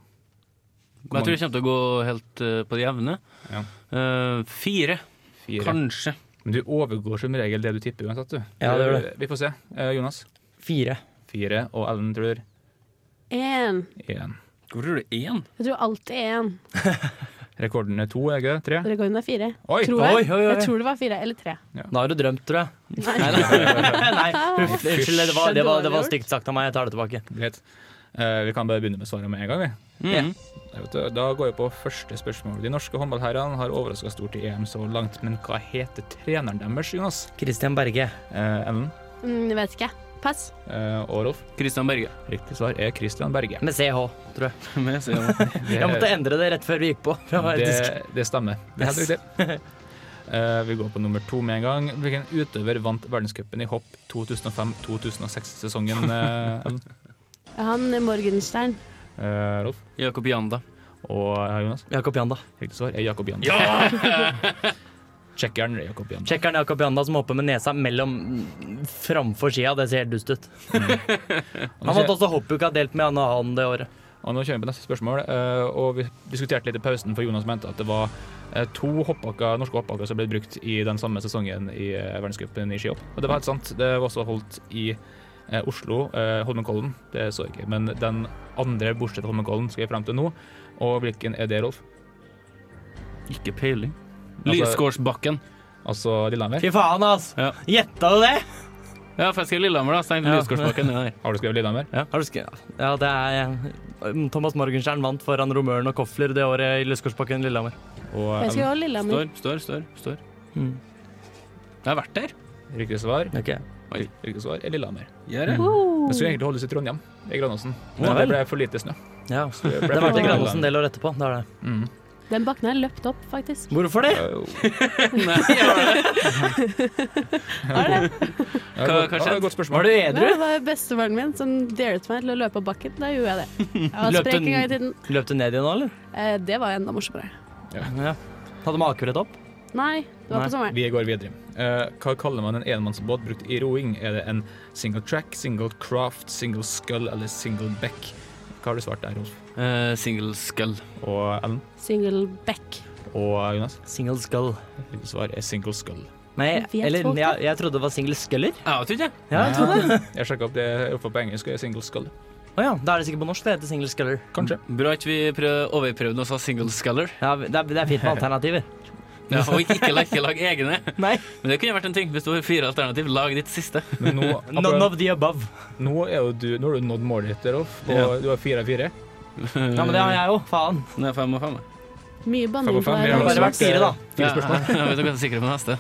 Speaker 2: Men jeg tror det kommer til å gå helt eh, på det jevne.
Speaker 4: Ja.
Speaker 2: Eh, fire,
Speaker 4: Fire.
Speaker 2: kanskje.
Speaker 4: Men du overgår som regel det du tipper uansett, du.
Speaker 6: Ja, det gjør
Speaker 4: Eh, Vi får se. Eh, Jonas?
Speaker 6: Fire.
Speaker 4: Fire. Og Ellen tror
Speaker 7: Én.
Speaker 4: én.
Speaker 2: Hvorfor tror du én?
Speaker 7: Jeg tror alltid én.
Speaker 4: Rekorden er to, er ikke det? Tre?
Speaker 7: Rekorden er fire.
Speaker 4: Oi!
Speaker 7: Tror jeg.
Speaker 6: Oi, oi, oi.
Speaker 7: Jeg tror det var fire eller tre.
Speaker 6: Da har du drømt, tror jeg.
Speaker 7: Nei,
Speaker 6: Nei, huff, unnskyld. Det var, det, var, det var
Speaker 7: Dårlig
Speaker 6: stygt sagt av meg. Jeg tar det tilbake.
Speaker 4: Greit. Eh, vi kan bare begynne med svaret med en gang, vi.
Speaker 2: Mm.
Speaker 4: Jeg vet du, Da går jeg på første spørsmål. De norske håndballherrene har overraska stort i EM så langt, men hva heter treneren deres, Jonas?
Speaker 6: Christian Berge.
Speaker 4: Eh, Ellen
Speaker 7: Mm, jeg vet ikke. Pass.
Speaker 4: eh, og Rolf?
Speaker 2: Christian Berge.
Speaker 4: Riktig svar er Christian Berge.
Speaker 6: Med CH, tror jeg.
Speaker 2: Med Sia. Det
Speaker 6: Jeg måtte endre det rett før vi gikk på. for å være etisk.
Speaker 4: Det, det stemmer. Det er helt
Speaker 6: Yes.
Speaker 4: riktig. Eh, vi går på nummer to med en gang. Hvilken utøver vant verdenscupen i hopp 2005-2006-sesongen?
Speaker 7: Han eh, Morgenstern.
Speaker 4: eh, Rolf
Speaker 2: Jakob Janda.
Speaker 4: og eh, Jonas?
Speaker 6: Jakob Janda.
Speaker 4: Riktig svar er Jakob Janda. Tsjekkeren Jakob Janda.
Speaker 6: Tsjekkeren Jakob Janda som hopper med nesa mellom framfor skia. Det ser helt dust ut.
Speaker 4: Og nå
Speaker 6: Han vant
Speaker 4: kjører-
Speaker 6: også hoppuka delt med Anna Han det året.
Speaker 4: Og nå kjører vi på neste spørsmål. eh, og vi diskuterte litt i pausen, for Jonas mente at det var eh, to hoppbakker, norske hoppbakker som ble brukt i den samme sesongen i eh, verdenscupen i skihopp. Og det var helt sant. Det var også holdt i eh, Oslo, eh, Holmenkollen. Det så jeg ikke. Men den andre, bortsett fra Holmenkollen, skal jeg frem til nå. Og hvilken er det, Rolf?
Speaker 2: Ikke peiling.
Speaker 4: Altså-
Speaker 2: Lysgårdsbakken.
Speaker 4: Altså Lillehammer?
Speaker 6: Fy faen, ass!
Speaker 2: Ja.
Speaker 6: Gjetta du det?
Speaker 2: Ja, for jeg skrev Lillehammer, da. Så tenkte jeg
Speaker 6: Ja.
Speaker 2: Lysgårdsbakken er der.
Speaker 4: Har du skrevet Lillehammer?
Speaker 6: Har du skrevet? Ja, det er eh, Thomas Morgenstern vant foran Romøren og Kofler det året i Lysgårdsbakken Lillehammer.
Speaker 4: Og
Speaker 7: Jeg skal
Speaker 4: Ellen,
Speaker 7: jo ha Lillehammer.
Speaker 2: Står, står, står. står.
Speaker 6: Mm.
Speaker 2: Jeg har vært der.
Speaker 4: eh, riktig svar.
Speaker 6: Ok.
Speaker 4: Riktig svar er Lillehammer.
Speaker 2: Gjør jeg?
Speaker 7: Oh.
Speaker 4: Det skulle egentlig holdes i Trondheim, i Granåsen.
Speaker 6: Ja vel.
Speaker 4: Men det ble for lite snø.
Speaker 6: Ja.
Speaker 4: Så Det
Speaker 6: Det
Speaker 4: ble
Speaker 6: var til
Speaker 4: flyttet til
Speaker 6: Granåsen
Speaker 4: Lillehammer.
Speaker 6: del år etterpå. Det er det.
Speaker 4: Mm.
Speaker 7: Den bakken er løpt opp, faktisk.
Speaker 6: Hvorfor det?
Speaker 2: Nei, jeg var der.
Speaker 7: Er det?
Speaker 4: Ja,
Speaker 2: Hva- hva
Speaker 4: godt- ja,
Speaker 2: skjedde?
Speaker 4: Godt spørsmål.
Speaker 6: Var du
Speaker 7: Ja,
Speaker 6: edru?
Speaker 7: det var bestefaren min som daret meg til å løpe opp bakken. Da gjorde jeg det. Jeg var
Speaker 6: Løpte
Speaker 7: sprek en
Speaker 6: den-
Speaker 7: gang i tiden.
Speaker 6: Løp du ned igjen nå, eller?
Speaker 7: Eh, Det var enda morsommere.
Speaker 6: Ja. Hadde makebrett opp?
Speaker 7: Nei, det var
Speaker 6: Nei.
Speaker 7: på sommeren.
Speaker 4: Vi går videre. Eh, hva kaller man en enmannsbåt brukt i roing? Er det en single track, single craft, single scull eller single back? Hva har du svart der, Rolf?
Speaker 2: Eh, Single Skull.
Speaker 4: Og Ellen?
Speaker 7: Single back.
Speaker 4: Og Jonas?
Speaker 6: Single skull.
Speaker 4: Riktig svar er single scull.
Speaker 6: Nei,
Speaker 7: Jeg vet
Speaker 6: eller
Speaker 7: folk,
Speaker 6: jeg, jeg trodde det var single sculler.
Speaker 2: Jeg vet ikke.
Speaker 6: Ja, jeg trodde det.
Speaker 4: Jeg sjekka opp det i hvert fall på engelsk, er single scull.
Speaker 6: Å ja, da er det sikkert på norsk det heter single sculler.
Speaker 4: Kanskje.
Speaker 2: Bra at vi prøv, overprøvde og sa Single Sculler.
Speaker 6: Ja, det er, det er fint med alternativer.
Speaker 2: Ja, og ikke, ikke, lag, ikke lag egne.
Speaker 6: Nei,
Speaker 2: Men det kunne vært en ting. Hvis du har fire alternativ, lag ditt siste.
Speaker 4: Men nå,
Speaker 6: none of the above.
Speaker 4: nå er jo du Nå har du nådd målet ditt, Rolf. Og
Speaker 2: Ja.
Speaker 4: du har fire av fire.
Speaker 6: Ja, men det har jeg jo, faen.
Speaker 2: Det er fem og fem. da.
Speaker 7: Mye
Speaker 4: Fem
Speaker 7: banning
Speaker 4: og
Speaker 7: på
Speaker 4: fem.
Speaker 7: deg.
Speaker 4: Vi har
Speaker 6: Bare
Speaker 4: også
Speaker 6: vært fire, da.
Speaker 4: Fire spørsmål.
Speaker 2: Ja, jeg vet ikke hva jeg er sikker på neste.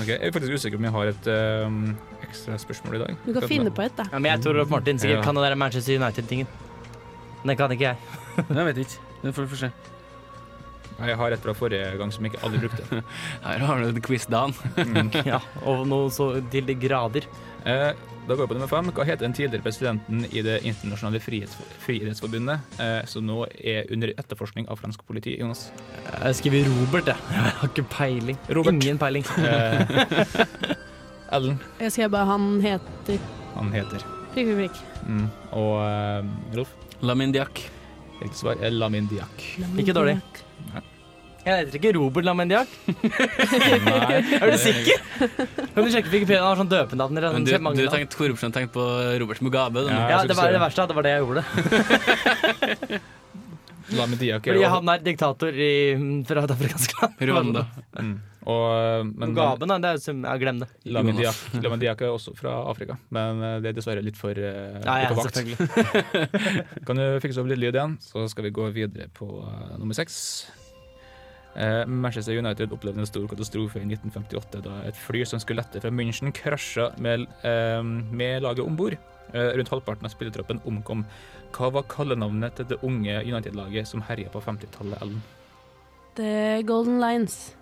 Speaker 4: Ok, Jeg er faktisk usikker på om jeg har et um, ekstra spørsmål i dag.
Speaker 7: Du kan finne på et, da.
Speaker 6: Ja, men jeg tror Rolf Martin sikkert
Speaker 4: Ja.
Speaker 6: kan den der Manchester United-tingen. Den kan ikke jeg.
Speaker 2: Jeg vet ikke. Det får vi få se.
Speaker 4: Jeg har et fra forrige gang som jeg ikke aldri brukte.
Speaker 2: Her har du en quiz, Dan.
Speaker 6: Ja, og noe så til de grader.
Speaker 4: Eh, Da går vi på nummer fem. Hva heter den tidligere presidenten i Det internasjonale frihets friidrettsforbundet, eh, som nå er under etterforskning av fransk politi? Jonas?
Speaker 6: Jeg skriver Robert, jeg. Jeg har ikke peiling.
Speaker 4: Robert.
Speaker 6: Ingen peiling.
Speaker 4: Eh, Ellen.
Speaker 7: Jeg skrev bare han heter
Speaker 4: Han heter
Speaker 7: prikk, prikk, prikk.
Speaker 4: mm. Og eh, Rolf?
Speaker 2: Lamin Diak.
Speaker 4: Riktig svar er Lamin Diak.
Speaker 6: Ikke dårlig. Jeg heter ikke Robert Lamendiak.
Speaker 4: Nei.
Speaker 6: Er du sikker? Kan du sjekke Wikipedia? Han har sånn døpenavn. eller
Speaker 2: Men
Speaker 6: sånn
Speaker 2: du,
Speaker 6: kjempemange
Speaker 2: du
Speaker 6: navn.
Speaker 2: tenkte korrupsjon tenkte på Robert Mugabe.
Speaker 4: Ja.
Speaker 2: Ja.
Speaker 6: Ja,
Speaker 4: jeg
Speaker 6: det
Speaker 4: skulle
Speaker 6: var
Speaker 4: si
Speaker 6: det verste. at Det var det jeg gjorde.
Speaker 4: Eh, Lamin Diak er
Speaker 6: Fordi han er diktator i, mm, fra et afrikansk land.
Speaker 2: Rwanda.
Speaker 4: Mm. Og, eh, men
Speaker 6: Mugabe, nei, det er jo som Ja, glem det.
Speaker 4: Lamin Diak,
Speaker 2: Jonas.
Speaker 4: Lamin Diak er også fra Afrika, men eh, det er dessverre litt for eh,
Speaker 6: Ja, ja,
Speaker 4: litt for vagt.
Speaker 6: selvfølgelig.
Speaker 4: Kan du fikse opp litt lyd igjen, så skal vi gå videre på eh, nummer seks. Eh, Manchester United opplevde en stor katastrofe i 1958 da et fly som skulle lette fra München, krasja med, eh, med laget om bord. Eh, rundt halvparten av spillertroppen omkom. Hva var kallenavnet til det unge United-laget som herja på 50-tallet, Ellen?
Speaker 7: The Golden Lines.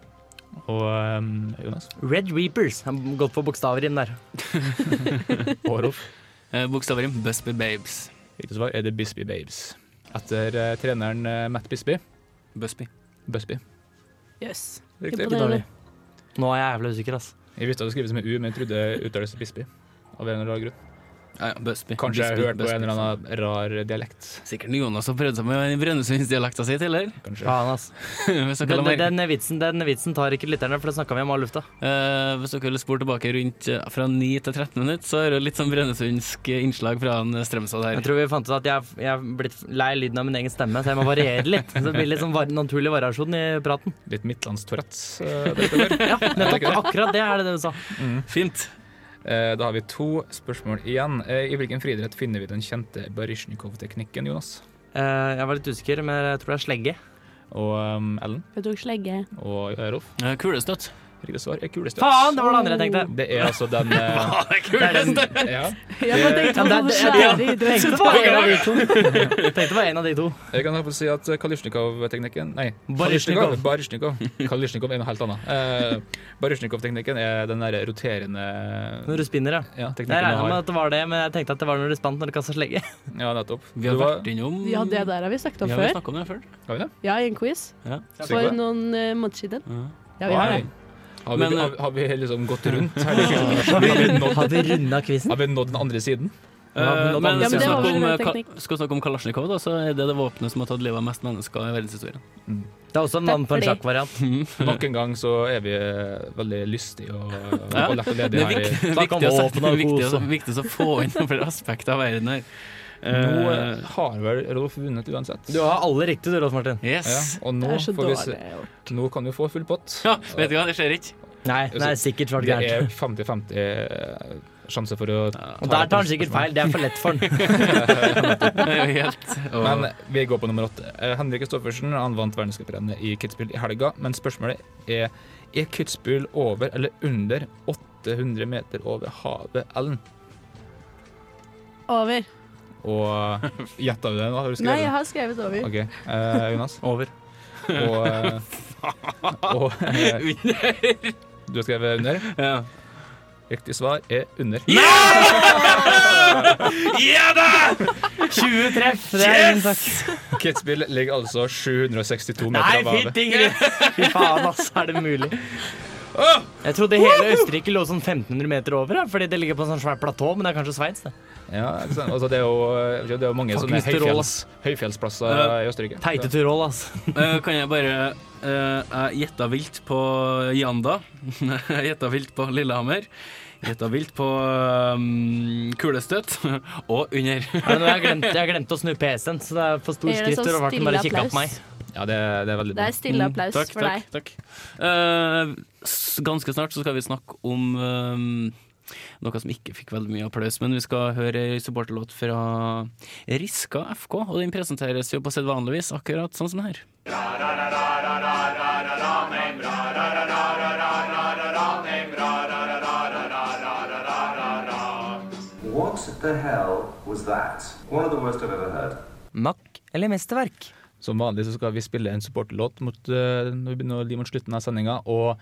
Speaker 4: Og eh, Jonas?
Speaker 6: Red Reapers. Han har gått for bokstavrim der.
Speaker 4: Og Rolf?
Speaker 2: Eh, Bokstavrim Busby Babes.
Speaker 4: Riktig svar er det Bisbee Babes. Etter eh, treneren eh, Matt Bisbee.
Speaker 2: Busby.
Speaker 4: Busby.
Speaker 7: Jøss. Yes.
Speaker 4: Riktig.
Speaker 6: Ikke dårlig. Nå er jeg jævlig usikker, ass.
Speaker 4: Jeg visste at det skrives med U, men jeg trodde det uttales Bisbee. Av en eller annen grunn.
Speaker 2: Ja, ja, Busby.
Speaker 4: Kanskje jeg
Speaker 2: Busby,
Speaker 4: har hørt på
Speaker 2: Busby.
Speaker 4: en eller annen rar dialekt.
Speaker 2: Sikkert Jonas har prøvd seg med Brønnøysundsdialekta si tidligere.
Speaker 4: Kanskje.
Speaker 6: Faen, ass.
Speaker 2: Hvis dere
Speaker 6: Den,
Speaker 2: la merke-
Speaker 6: den, vitsen, den vitsen tar ikke lytterne, for det snakka vi om av lufta.
Speaker 2: Eh, hvis dere spor tilbake rundt eh, fra 9 til 13 minutter, så er det litt sånn brønnesundsk innslag fra eh, han Strømstad
Speaker 6: Jeg
Speaker 2: her.
Speaker 6: tror vi fant ut at jeg, jeg er blitt lei lyden av min egen stemme, så jeg må variere litt. Så det blir litt sånn var, naturlig variasjon i praten.
Speaker 4: Litt Midtlands Tourettes. eh, det heter det.
Speaker 6: Nettopp, akkurat det er det du sa.
Speaker 4: Mm.
Speaker 2: Fint.
Speaker 4: Eh, Da har vi to spørsmål igjen. Eh, I hvilken friidrett finner vi den kjente Baryshnikov-teknikken, Jonas?
Speaker 6: Eh, jeg var litt usikker, men jeg tror det er slegge.
Speaker 4: Og um, Ellen
Speaker 7: Jeg tok slegge.
Speaker 4: og eh, Rolf?
Speaker 2: Eh, Kulestøtt.
Speaker 4: Riktig svar er kulestøt.
Speaker 6: Faen, det var det andre jeg tenkte.
Speaker 4: Det er altså den eh,
Speaker 2: Kulestøtt!
Speaker 4: ja.
Speaker 7: Jeg bare tenkte
Speaker 6: Ja, men
Speaker 7: på
Speaker 6: det-
Speaker 7: hvor
Speaker 6: det-
Speaker 7: svære
Speaker 6: Tenkte det var en av
Speaker 7: idrettsutøvere
Speaker 6: de to. Tenkte det var en av de to.
Speaker 4: Jeg kan i hvert fall si at eh, Kalysjnikov-teknikken Nei,
Speaker 6: Baryshnikov.
Speaker 4: Baryshnikov Kalysjnikov er noe helt annet. Eh, Baryshnikov-teknikken er den der roterende
Speaker 6: Når du spinner, ja.
Speaker 4: ja, teknikken
Speaker 6: Jeg regna
Speaker 4: du
Speaker 6: med
Speaker 4: har.
Speaker 6: at det var det, men jeg tenkte at det var når du spant når du kasta slegge.
Speaker 4: Ja, nettopp.
Speaker 2: Vi har
Speaker 4: Du var-
Speaker 2: vært innom
Speaker 7: Ja, det der har vi snakket om
Speaker 2: Ja, vi
Speaker 7: før.
Speaker 2: snakket om det før.
Speaker 4: Har vi det?
Speaker 7: Ja, i en quiz
Speaker 2: Ja.
Speaker 7: for noen eh, måneder siden.
Speaker 2: Ja.
Speaker 7: Ja, vi har
Speaker 4: Oi.
Speaker 7: det.
Speaker 4: Har vi,
Speaker 2: Men,
Speaker 4: har, har vi liksom gått rundt? Har vi, har, vi nådd,
Speaker 6: Har vi runda quizen?
Speaker 4: har vi nådd den andre siden?
Speaker 2: Eh, men
Speaker 7: Ja,
Speaker 2: skal
Speaker 7: men
Speaker 2: vi
Speaker 7: det var
Speaker 2: snakke
Speaker 7: vel
Speaker 2: om,
Speaker 7: en
Speaker 2: eh,
Speaker 7: teknikk.
Speaker 2: Ka- skal vi snakke om Kalasjnikov, da, så er det det våpenet som har tatt livet av mest mennesker i verdenshistorien.
Speaker 6: Det er også en navn på en sjakkvariant.
Speaker 4: Nok en gang så er vi eh, veldig lystige og,
Speaker 2: Ja.
Speaker 4: og lett og
Speaker 2: Det
Speaker 4: ledige
Speaker 2: er
Speaker 4: her. i-
Speaker 2: viktig,
Speaker 6: Snakk om
Speaker 2: viktig, å, sette-
Speaker 6: våpen og
Speaker 2: viktig,
Speaker 6: kos
Speaker 2: å,
Speaker 6: og-
Speaker 2: viktig å få inn noen flere aspekter av verden her.
Speaker 4: Nå
Speaker 2: Eh,
Speaker 4: eh, har vel Rolf vunnet uansett.
Speaker 6: Du har alle riktig, du, Rolf Martin.
Speaker 4: Ja,
Speaker 2: yes.
Speaker 4: og nå,
Speaker 7: Det er så
Speaker 4: får vi
Speaker 7: dårlig.
Speaker 4: se. nå kan vi få full pott.
Speaker 2: Ja, vet du hva, det skjer ikke.
Speaker 6: Nei, det er sikkert svart
Speaker 4: Det
Speaker 6: gærent.
Speaker 4: er 50-50 eh, sjanse for å
Speaker 6: Og der tar han sikkert feil. Det er for lett for han.
Speaker 2: Det er jo helt og,
Speaker 4: Men vi går på nummer åtte. Eh, Henrik Kristoffersen han vant verdenscuprennet i Kitzbühel i helga, men spørsmålet er er Kitzbühel over eller under 800 meter over havet, Ellen?
Speaker 7: Over.
Speaker 4: Og gjetta du det nå? Har du
Speaker 7: Nei, jeg
Speaker 4: skrevet det?
Speaker 7: har skrevet over.
Speaker 4: OK. eh, Jonas.
Speaker 6: Over.
Speaker 4: Og, eh, og eh, Du har skrevet under?
Speaker 2: ja.
Speaker 4: Riktig svar er under.
Speaker 2: ja da!
Speaker 6: 20 treff! Det er ingen sak.
Speaker 4: Kitzbühel ligger altså 762
Speaker 6: Nei,
Speaker 4: meter over havet.
Speaker 6: fint, Ingrid! Fy faen, ass. Er det mulig? Jeg trodde hele Østerrike lå sånn 1500 meter over, ja, fordi det ligger på en sånn svær platå, men det er kanskje Sveits, det.
Speaker 4: Ja, ikke sant? Altså, det er jo eh, det er jo mange
Speaker 6: Fuck,
Speaker 4: sånne
Speaker 6: Mr. Roll,
Speaker 4: høyfjells, høyfjellsplasser i Østerrike.
Speaker 6: Teite Tyrol, ass.
Speaker 2: Eh, kan jeg bare eh, Jeg gjetta vilt på Janda. Jeg gjetta vilt på Lillehammer. Gjetta vilt på um, kulestøtt. Og under.
Speaker 6: Ja, men jeg, glemte, jeg glemte å snu PC-en, så det er for stor
Speaker 7: Jeg gjør det
Speaker 6: skrift.
Speaker 7: sånn
Speaker 6: Og Martin bare
Speaker 7: stille
Speaker 6: kikket
Speaker 7: applaus.
Speaker 6: på meg.
Speaker 4: Ja, det, er- det er veldig
Speaker 7: Det
Speaker 4: bra.
Speaker 7: er stille applaus
Speaker 2: Takk,
Speaker 7: for
Speaker 2: takk.
Speaker 7: deg.
Speaker 2: takk. Eh, s- ganske snart så skal vi snakke om um, noe som ikke fikk veldig mye applaus, men vi skal høre ei supporterlåt fra Riska FK, og den presenteres jo på sedvanlig vis, akkurat sånn som den her.
Speaker 10: the hell was that? One of the worst I've ever heard.
Speaker 6: Mack eller mesterverk?
Speaker 4: Som vanlig så skal vi spille en supporterlåt mot, eh, når vi begynner å li mot slutten av sendinga. Og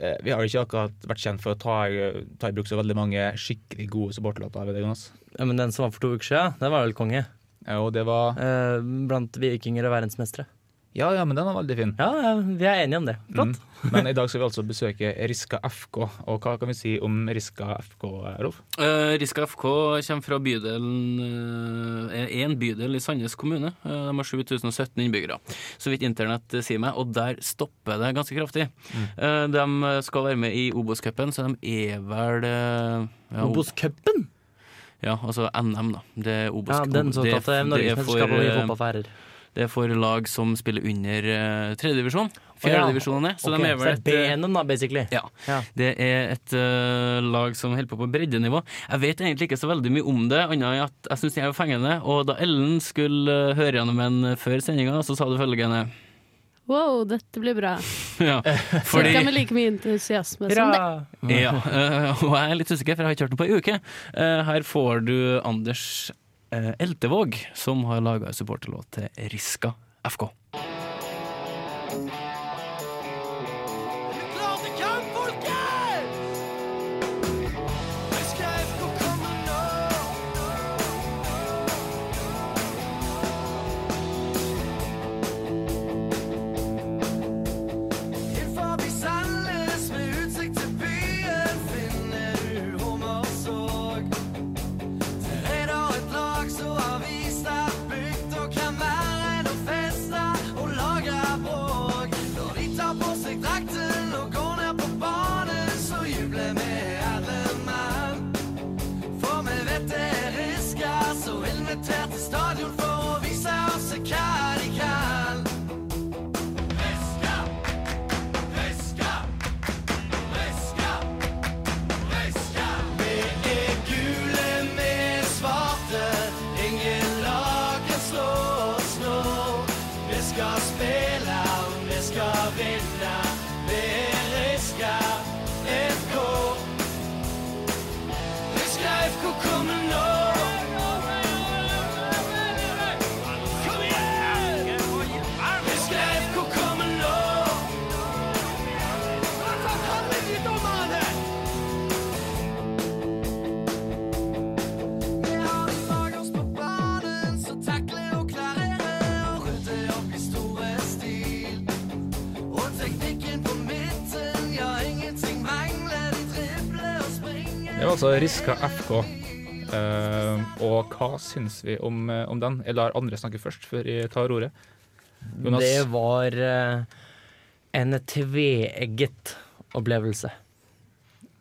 Speaker 4: eh, vi har jo ikke akkurat vært kjent for å ta, i- ta i bruk så veldig mange skikkelig gode supporterlåter. har vi det, Jonas?
Speaker 6: Ja, men den som var for to uker siden, den var vel konge.
Speaker 4: Ja, og det var
Speaker 6: Eh, blant vikinger og verdensmestere.
Speaker 4: Ja, ja, men den var veldig fin.
Speaker 6: Ja, ja, vi er enige om det. Flott.
Speaker 4: Men i dag skal vi altså besøke Riska FK. Og hva kan vi si om Riska FK, Rolf?
Speaker 2: Eh, Riska FK kommer fra bydelen eh, en bydel i Sandnes kommune. Eh, de har 7017 innbyggere, så vidt internett eh, sier meg. Og der stopper det ganske kraftig.
Speaker 6: Mm.
Speaker 2: Eh, de skal være med i Obos-cupen, så de er vel eh, ja, O-
Speaker 6: Obos-cupen!
Speaker 2: Ja, altså NM, da. Det er Obos.
Speaker 6: Ja, den
Speaker 2: det er-
Speaker 6: såkalte
Speaker 2: det er for,
Speaker 6: Norgesmesterskapet i
Speaker 2: eh,
Speaker 6: fotball for herrer.
Speaker 2: Det er for lag som spiller under eh, tredjedivisjon.
Speaker 6: ja.
Speaker 2: Fjerdedivisjonen er. Så
Speaker 6: Ok,
Speaker 2: de er vel
Speaker 6: så
Speaker 2: et
Speaker 6: det er
Speaker 2: eh,
Speaker 6: B-en da, basically.
Speaker 2: ja.
Speaker 6: Ja.
Speaker 2: Det er et eh, lag som holder på på breddenivå. Jeg vet egentlig ikke så veldig mye om det, annet enn at jeg syns de er fengende. Og da Ellen skulle eh, høre gjennom en før sendinga, så sa du følgende
Speaker 7: Wow, dette blir bra.
Speaker 2: ja,
Speaker 7: Fordi...
Speaker 2: fordi,
Speaker 7: med like mye entusiasme som det.
Speaker 6: Bra.
Speaker 2: ja, eh, Og jeg er litt usikker, for jeg har ikke hørt den på ei uke. Eh, her får du Anders eh, Eltevåg, som har laga supporterlåt til Riska FK.
Speaker 4: Det var altså Riska FK. Eh, og hva syns vi om, eh, om den? Jeg lar andre snakke først, før jeg tar ordet. Jonas,
Speaker 6: Det var eh, en tveegget opplevelse.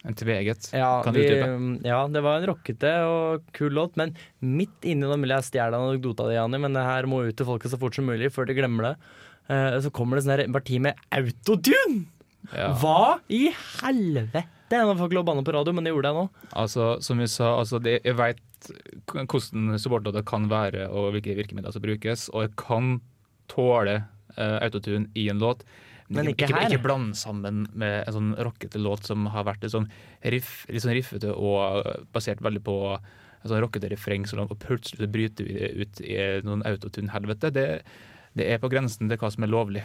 Speaker 4: en tveget.
Speaker 6: Ja,
Speaker 4: Kan du
Speaker 6: vi, mm,
Speaker 4: utdype?
Speaker 6: ja, det var en rockete og kul låt, men midt inni den vil jeg stjele anekdota di, Jani, men det her må ut til folket så fort som mulig før de glemmer det. Eh, så kommer det sånn her parti med autotune!
Speaker 4: Ja.
Speaker 6: Hva i helvete? Nå får jeg ikke lov å banne på radio, men det gjorde jeg nå.
Speaker 4: Altså, som vi sa, altså, det, jeg veit hvordan supportlåter kan være, og hvilke virkemidler som brukes. Og jeg kan tåle eh, autotune i en låt.
Speaker 6: Men ikke
Speaker 4: ikke,
Speaker 6: her.
Speaker 4: ikke bland sammen med en sånn rockete låt som har vært litt sånn, riff, litt sånn riffete og basert veldig på en sånn rockete refreng, sånn, og plutselig så bryter vi det ut i noen autotune-helvete. Det, det er på grensen til hva som er lovlig.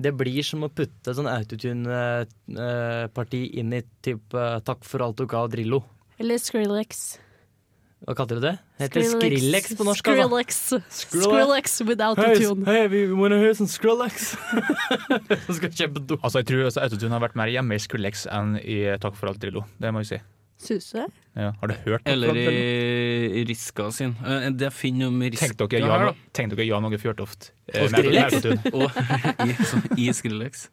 Speaker 6: Det blir som å putte sånn autotune-parti inn i typ eh, 'Takk for alt du ga Drillo'.
Speaker 7: Eller Skrillex.
Speaker 6: Hva kalte du det? Heter Skrillex på norsk, altså.
Speaker 7: Skrillex.
Speaker 6: Skrillex.
Speaker 7: Skrillex without a tune.
Speaker 6: vi wanna hear
Speaker 4: sånn
Speaker 6: some Skrillex. Som skal kjempe do.
Speaker 4: Altså, jeg tror altså, autotune har vært mer hjemme i Skrillex enn i Takk for alt, Drillo. Det må vi si.
Speaker 7: Suse?
Speaker 4: Ja. Har du hørt Takk for
Speaker 2: Eller
Speaker 4: alt, Drillo?
Speaker 2: i Riska sin. Eh, Det jeg finner om Riska
Speaker 4: Tenk dere
Speaker 2: her,
Speaker 4: Jan,
Speaker 2: da.
Speaker 4: tenk dere Jan Åge Fjørtoft. eh,
Speaker 2: Og
Speaker 4: med-
Speaker 2: Skrillex.
Speaker 4: med autotune.
Speaker 2: Og i, så- i Skrillex.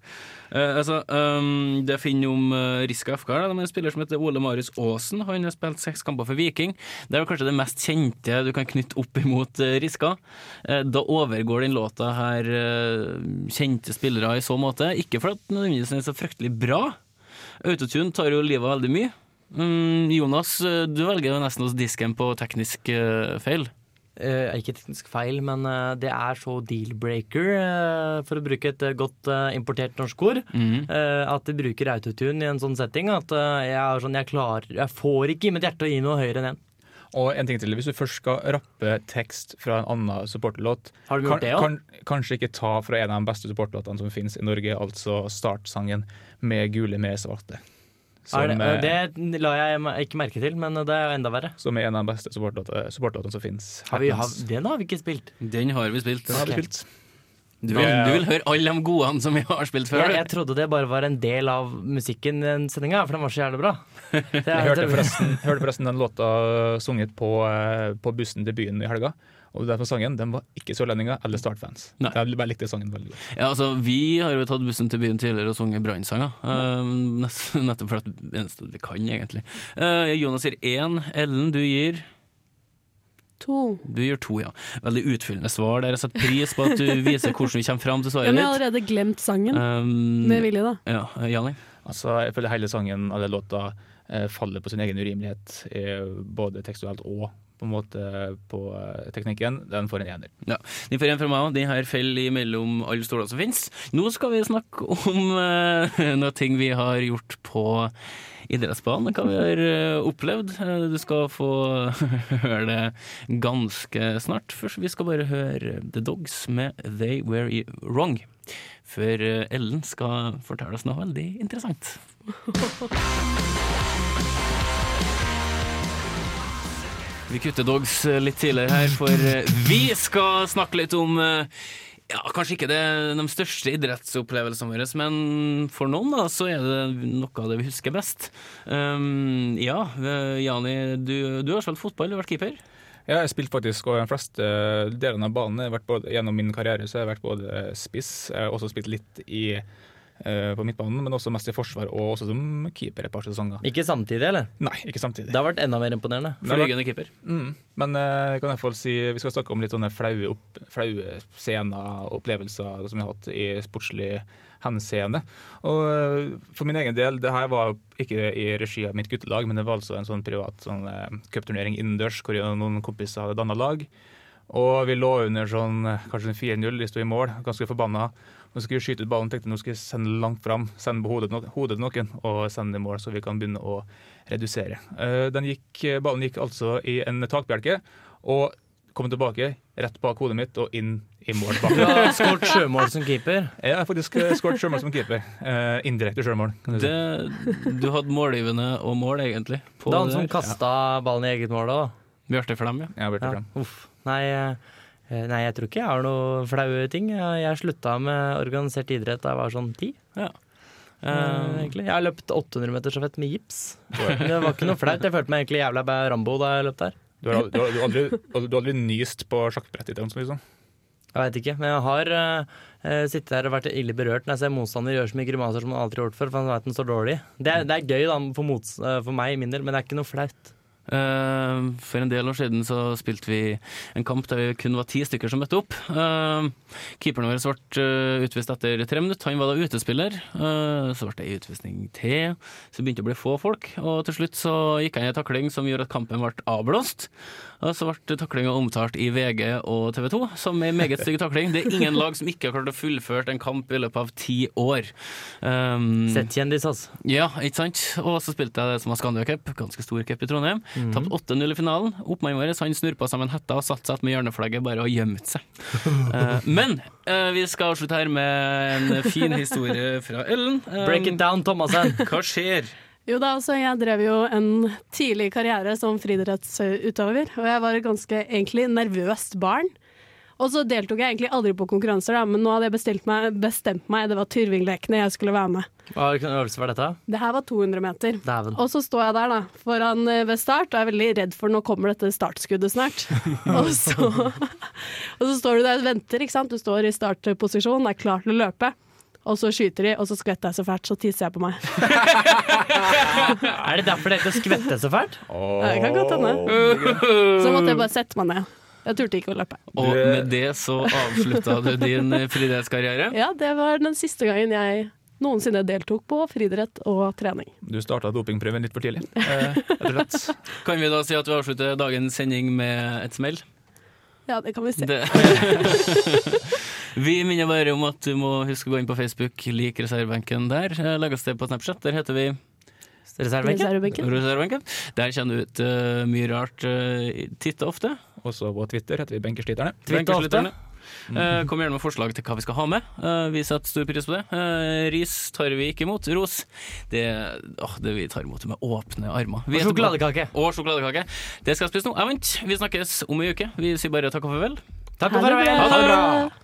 Speaker 2: Eh, altså, ehm, det jeg finner om eh, Riska FK, her, da, de er en spiller som heter Ole Marius Aasen. Han har spilt seks kamper for Viking. Det er vel kanskje det mest kjente du kan knytte opp imot eh, Riska. Eh, da overgår den låta her eh, kjente spillere i så måte. Ikke fordi den nødvendigvis er så fryktelig bra. Autotune tar jo livet av veldig mye. Mm, Jonas, eh, du velger jo nesten hos disken på teknisk eh, feil.
Speaker 6: ikke teknisk feil, men eh, det er så deal-breaker, eh, for å bruke et eh, godt eh, importert norsk ord,
Speaker 2: Mm.
Speaker 6: eh, at de bruker autotune i en sånn setting. At eh, jeg er sånn, jeg klarer Jeg får ikke i mitt hjerte å gi noe høyere enn én.
Speaker 4: Og en ting til, hvis du først skal rappe tekst fra en annen supporterlåt
Speaker 6: Har de gjort det, ja?
Speaker 4: kan, kanskje ikke ta fra en av de beste supporterlåtene som finnes i Norge, altså startsangen 'Med gule, med svarte'.
Speaker 6: Er
Speaker 4: Som,
Speaker 6: det,
Speaker 4: eh,
Speaker 6: det la jeg me- ikke merke til, men eh, det er jo enda verre.
Speaker 4: som er en av de beste supporterlåtene supporterlåtene som finnes.
Speaker 6: Har vi, har,
Speaker 4: Happens.
Speaker 6: den har vi ikke spilt.
Speaker 2: Den har vi spilt.
Speaker 4: Den har vi
Speaker 6: Ok.
Speaker 4: spilt.
Speaker 2: Du, vil, du vil høre alle de godene som vi har spilt før?
Speaker 6: Jeg, jeg trodde det bare var en del av musikken i den sendinga, for den var så jævlig bra. Det er- altså-
Speaker 4: Jeg hørte forresten, hørte forresten den låta sunget på, eh, på bussen til byen i helga. Og den som sang den, den var ikke sørlendinger eller Start-fans.
Speaker 2: Nei.
Speaker 4: Jeg bare likte sangen veldig godt.
Speaker 2: Ja, altså, vi har jo tatt bussen til byen tidligere og sunget brannsanger. Um, nest- nettopp for at det eneste vi kan, egentlig. Eh, Jonas sier én. Ellen, du gir
Speaker 7: To.
Speaker 2: Du gir to, ja. Veldig utfyllende svar. Der jeg setter pris på at du viser hvordan du kommer fram til
Speaker 7: Ja,
Speaker 2: svaret
Speaker 7: men jeg har
Speaker 2: ditt.
Speaker 7: allerede glemt sangen.
Speaker 2: Um,
Speaker 7: Med vilje, da.
Speaker 2: ja, eh, Janni?
Speaker 4: Altså, jeg føler hele sangen eller låta eh, faller på sin egen urimelighet, eh, både tekstuelt og på en måte på eh, teknikken. Den får en ener.
Speaker 2: Ja. De får en fra meg òg. De her faller imellom alle stoler som finnes. Nå skal vi snakke om uh, noe ting vi har gjort på idrettsbanen. Hva vi har eh, opplevd. Eh, du skal få høre det ganske snart. Først vi skal bare høre The Dogs med They Were Wrong. Før eh, Ellen skal fortelle oss noe veldig interessant. Vi kutter dogs eh, litt tidligere her, for eh, vi skal snakke litt om eh, ja, Kanskje ikke det, de største idrettsopplevelsene våre, men for noen da, så er det noe av det vi husker best. Um, ja, eh, Jani, du, du har spilt fotball, du har vært keeper.
Speaker 4: Ja, jeg spilte faktisk og de fleste eh, delene av banen. Jeg har vært både, gjennom min karriere så har jeg vært både eh, spiss, jeg har også spilt litt i, eh, på midtbanen, men også mest i forsvar og også som keeper et par sesonger.
Speaker 6: Ikke samtidig, eller?
Speaker 4: Nei, ikke samtidig.
Speaker 6: Det har vært enda mer imponerende.
Speaker 2: Flygende keeper.
Speaker 4: Mm. Men eh, jeg kan i hvert fall si vi skal snakke om litt sånne flaue, opp, flaue scener og opplevelser som vi har hatt i sportslig henseende. Og eh, for min egen del, det her var ikke i regi av mitt guttelag, men det var altså en sånn privat sånn, eh, cupturnering innendørs hvor jeg og noen kompiser hadde danna lag. Og vi lå under sånn eh, kanskje en 4-0, de sto i mål, ganske forbanna. Nå skulle vi skyte ut ballen, tenkte nå skal vi sende den langt fram, sende på hodet, til no- hodet til noen og sende den i mål, så vi kan begynne å redusere. Eh, Den gikk, ballen gikk altså i en takbjelke og kom tilbake rett bak hodet mitt og inn i mål bak.
Speaker 6: Du har skåret sjømål som keeper.
Speaker 4: Jeg har faktisk eh, skåret sjølmål som keeper. Eh, indirekte sjølmål. kan du si.
Speaker 2: Det, du hadde målgivende og mål, egentlig. På
Speaker 6: Det er han
Speaker 2: det
Speaker 6: som
Speaker 2: der.
Speaker 6: kasta ballen i eget mål òg.
Speaker 2: Bjarte Flem, ja.
Speaker 4: Ja, Bjarte
Speaker 6: Ja,
Speaker 4: Fram.
Speaker 6: uff. Nei, eh, nei, jeg tror ikke jeg har noe flaue ting. Jeg jeg slutta med organisert idrett da jeg var sånn ti.
Speaker 2: ja.
Speaker 6: eh,
Speaker 2: Um,
Speaker 6: egentlig. Jeg har løpt 800 meter stafett med gips. Det var ikke noe flaut. Jeg følte meg egentlig jævla bæ- Rambo da jeg løp der.
Speaker 4: Du har, du, har, du, har aldri, du har aldri nyst på sjakkbrettet ditt? eller noe sånt, Liksom.
Speaker 6: Jeg veit ikke, men jeg har eh, eh, sittet her og vært ille berørt når jeg ser motstander gjøre så mye grimaser som han aldri har gjort før, for han veit han står dårlig. Det er, det er gøy da, for, mots, eh, for meg, min del, men det er ikke noe flaut.
Speaker 2: Eh, For en del år siden så spilte vi en kamp der vi kun var ti stykker som møtte opp. Eh, Keeperen vår ble eh, utvist etter tre minutter. Han var da utespiller. Eh, Så ble det en utvisning til. Så begynte det å bli få folk. Og til slutt så gikk han i en takling som gjorde at kampen ble avblåst. Og så ble taklinga omtalt i VG og TV 2 som en meget stygg takling. Det er ingen lag som ikke har klart å fullføre en kamp i løpet av ti år. Um,
Speaker 6: Sett kjendis, altså.
Speaker 2: ja, ikke sant? Og så spilte jeg det som var Scandia Cup, ganske stor cup i Trondheim. Tapt 8-0 i finalen. Oppmannen vår han snurpa sammen hetta og satte seg med hjørneflagget bare og gjemte seg. Eh, men eh, vi skal avslutte her med en fin historie fra Ellen. Eh,
Speaker 6: Break it down, Thomassen!
Speaker 2: Hva skjer?
Speaker 7: Jo da, altså jeg drev jo en tidlig karriere som friidrettsutøver, og jeg var et ganske egentlig nervøst barn. Og så deltok jeg egentlig aldri på konkurranser, da, men nå hadde jeg bestilt meg, bestemt meg, det var Tyrvinglekene jeg skulle være med.
Speaker 6: Hva hvilken øvelse var dette?
Speaker 7: Det her var 200 meter.
Speaker 6: Dæven.
Speaker 7: Og så står jeg der da, foran eh, ved start, og er veldig redd for nå kommer dette startskuddet snart. og, så, og så står du der og venter, ikke sant? Du står i startposisjon, er klar til å løpe. Og så skyter de, og så skvetter jeg så fælt, så tisser jeg på meg.
Speaker 6: Er det derfor det heter skvette så fælt?
Speaker 7: Det kan godt hende. Så måtte jeg bare sette meg ned. Jeg turte ikke å løpe.
Speaker 2: Og med det så avslutta du din eh, friidrettskarriere.
Speaker 7: Ja, det var den siste gangen jeg noensinne deltok på friidrett og trening.
Speaker 4: Du starta dopingprøven litt for tidlig, eh, rett og slett.
Speaker 2: Kan vi da si at vi avslutter dagens sending med et smell?
Speaker 7: Ja, det kan vi se.
Speaker 2: Det. vi minner bare om at du må huske å gå inn på Facebook, lik reservebenken der. Eh, Legg oss til på Snapchat, der heter vi
Speaker 6: Reservebenken.
Speaker 7: Reservebenken.
Speaker 2: Reservebenken. Der kjenner du ut eh, mye rart uh, titt og ofte.
Speaker 4: Også på Twitter heter vi Benkesliterne.
Speaker 6: Twitter ofte.
Speaker 2: Benkesliterne. Eh, kom gjerne med forslag til hva vi skal ha med. Eh, vi setter stor pris på det. Eh, ris tar vi ikke imot. Ros, det, åh, det vi tar imot med åpne armer. Vi
Speaker 6: Og
Speaker 2: er tilbake-
Speaker 6: sjokoladekake.
Speaker 2: Og sjokoladekake. Det skal jeg spise nå. Jeg vant. Vi snakkes om ei uke. Vi sier bare takk og farvel.
Speaker 6: Takk og farvel.
Speaker 2: Ha det bra.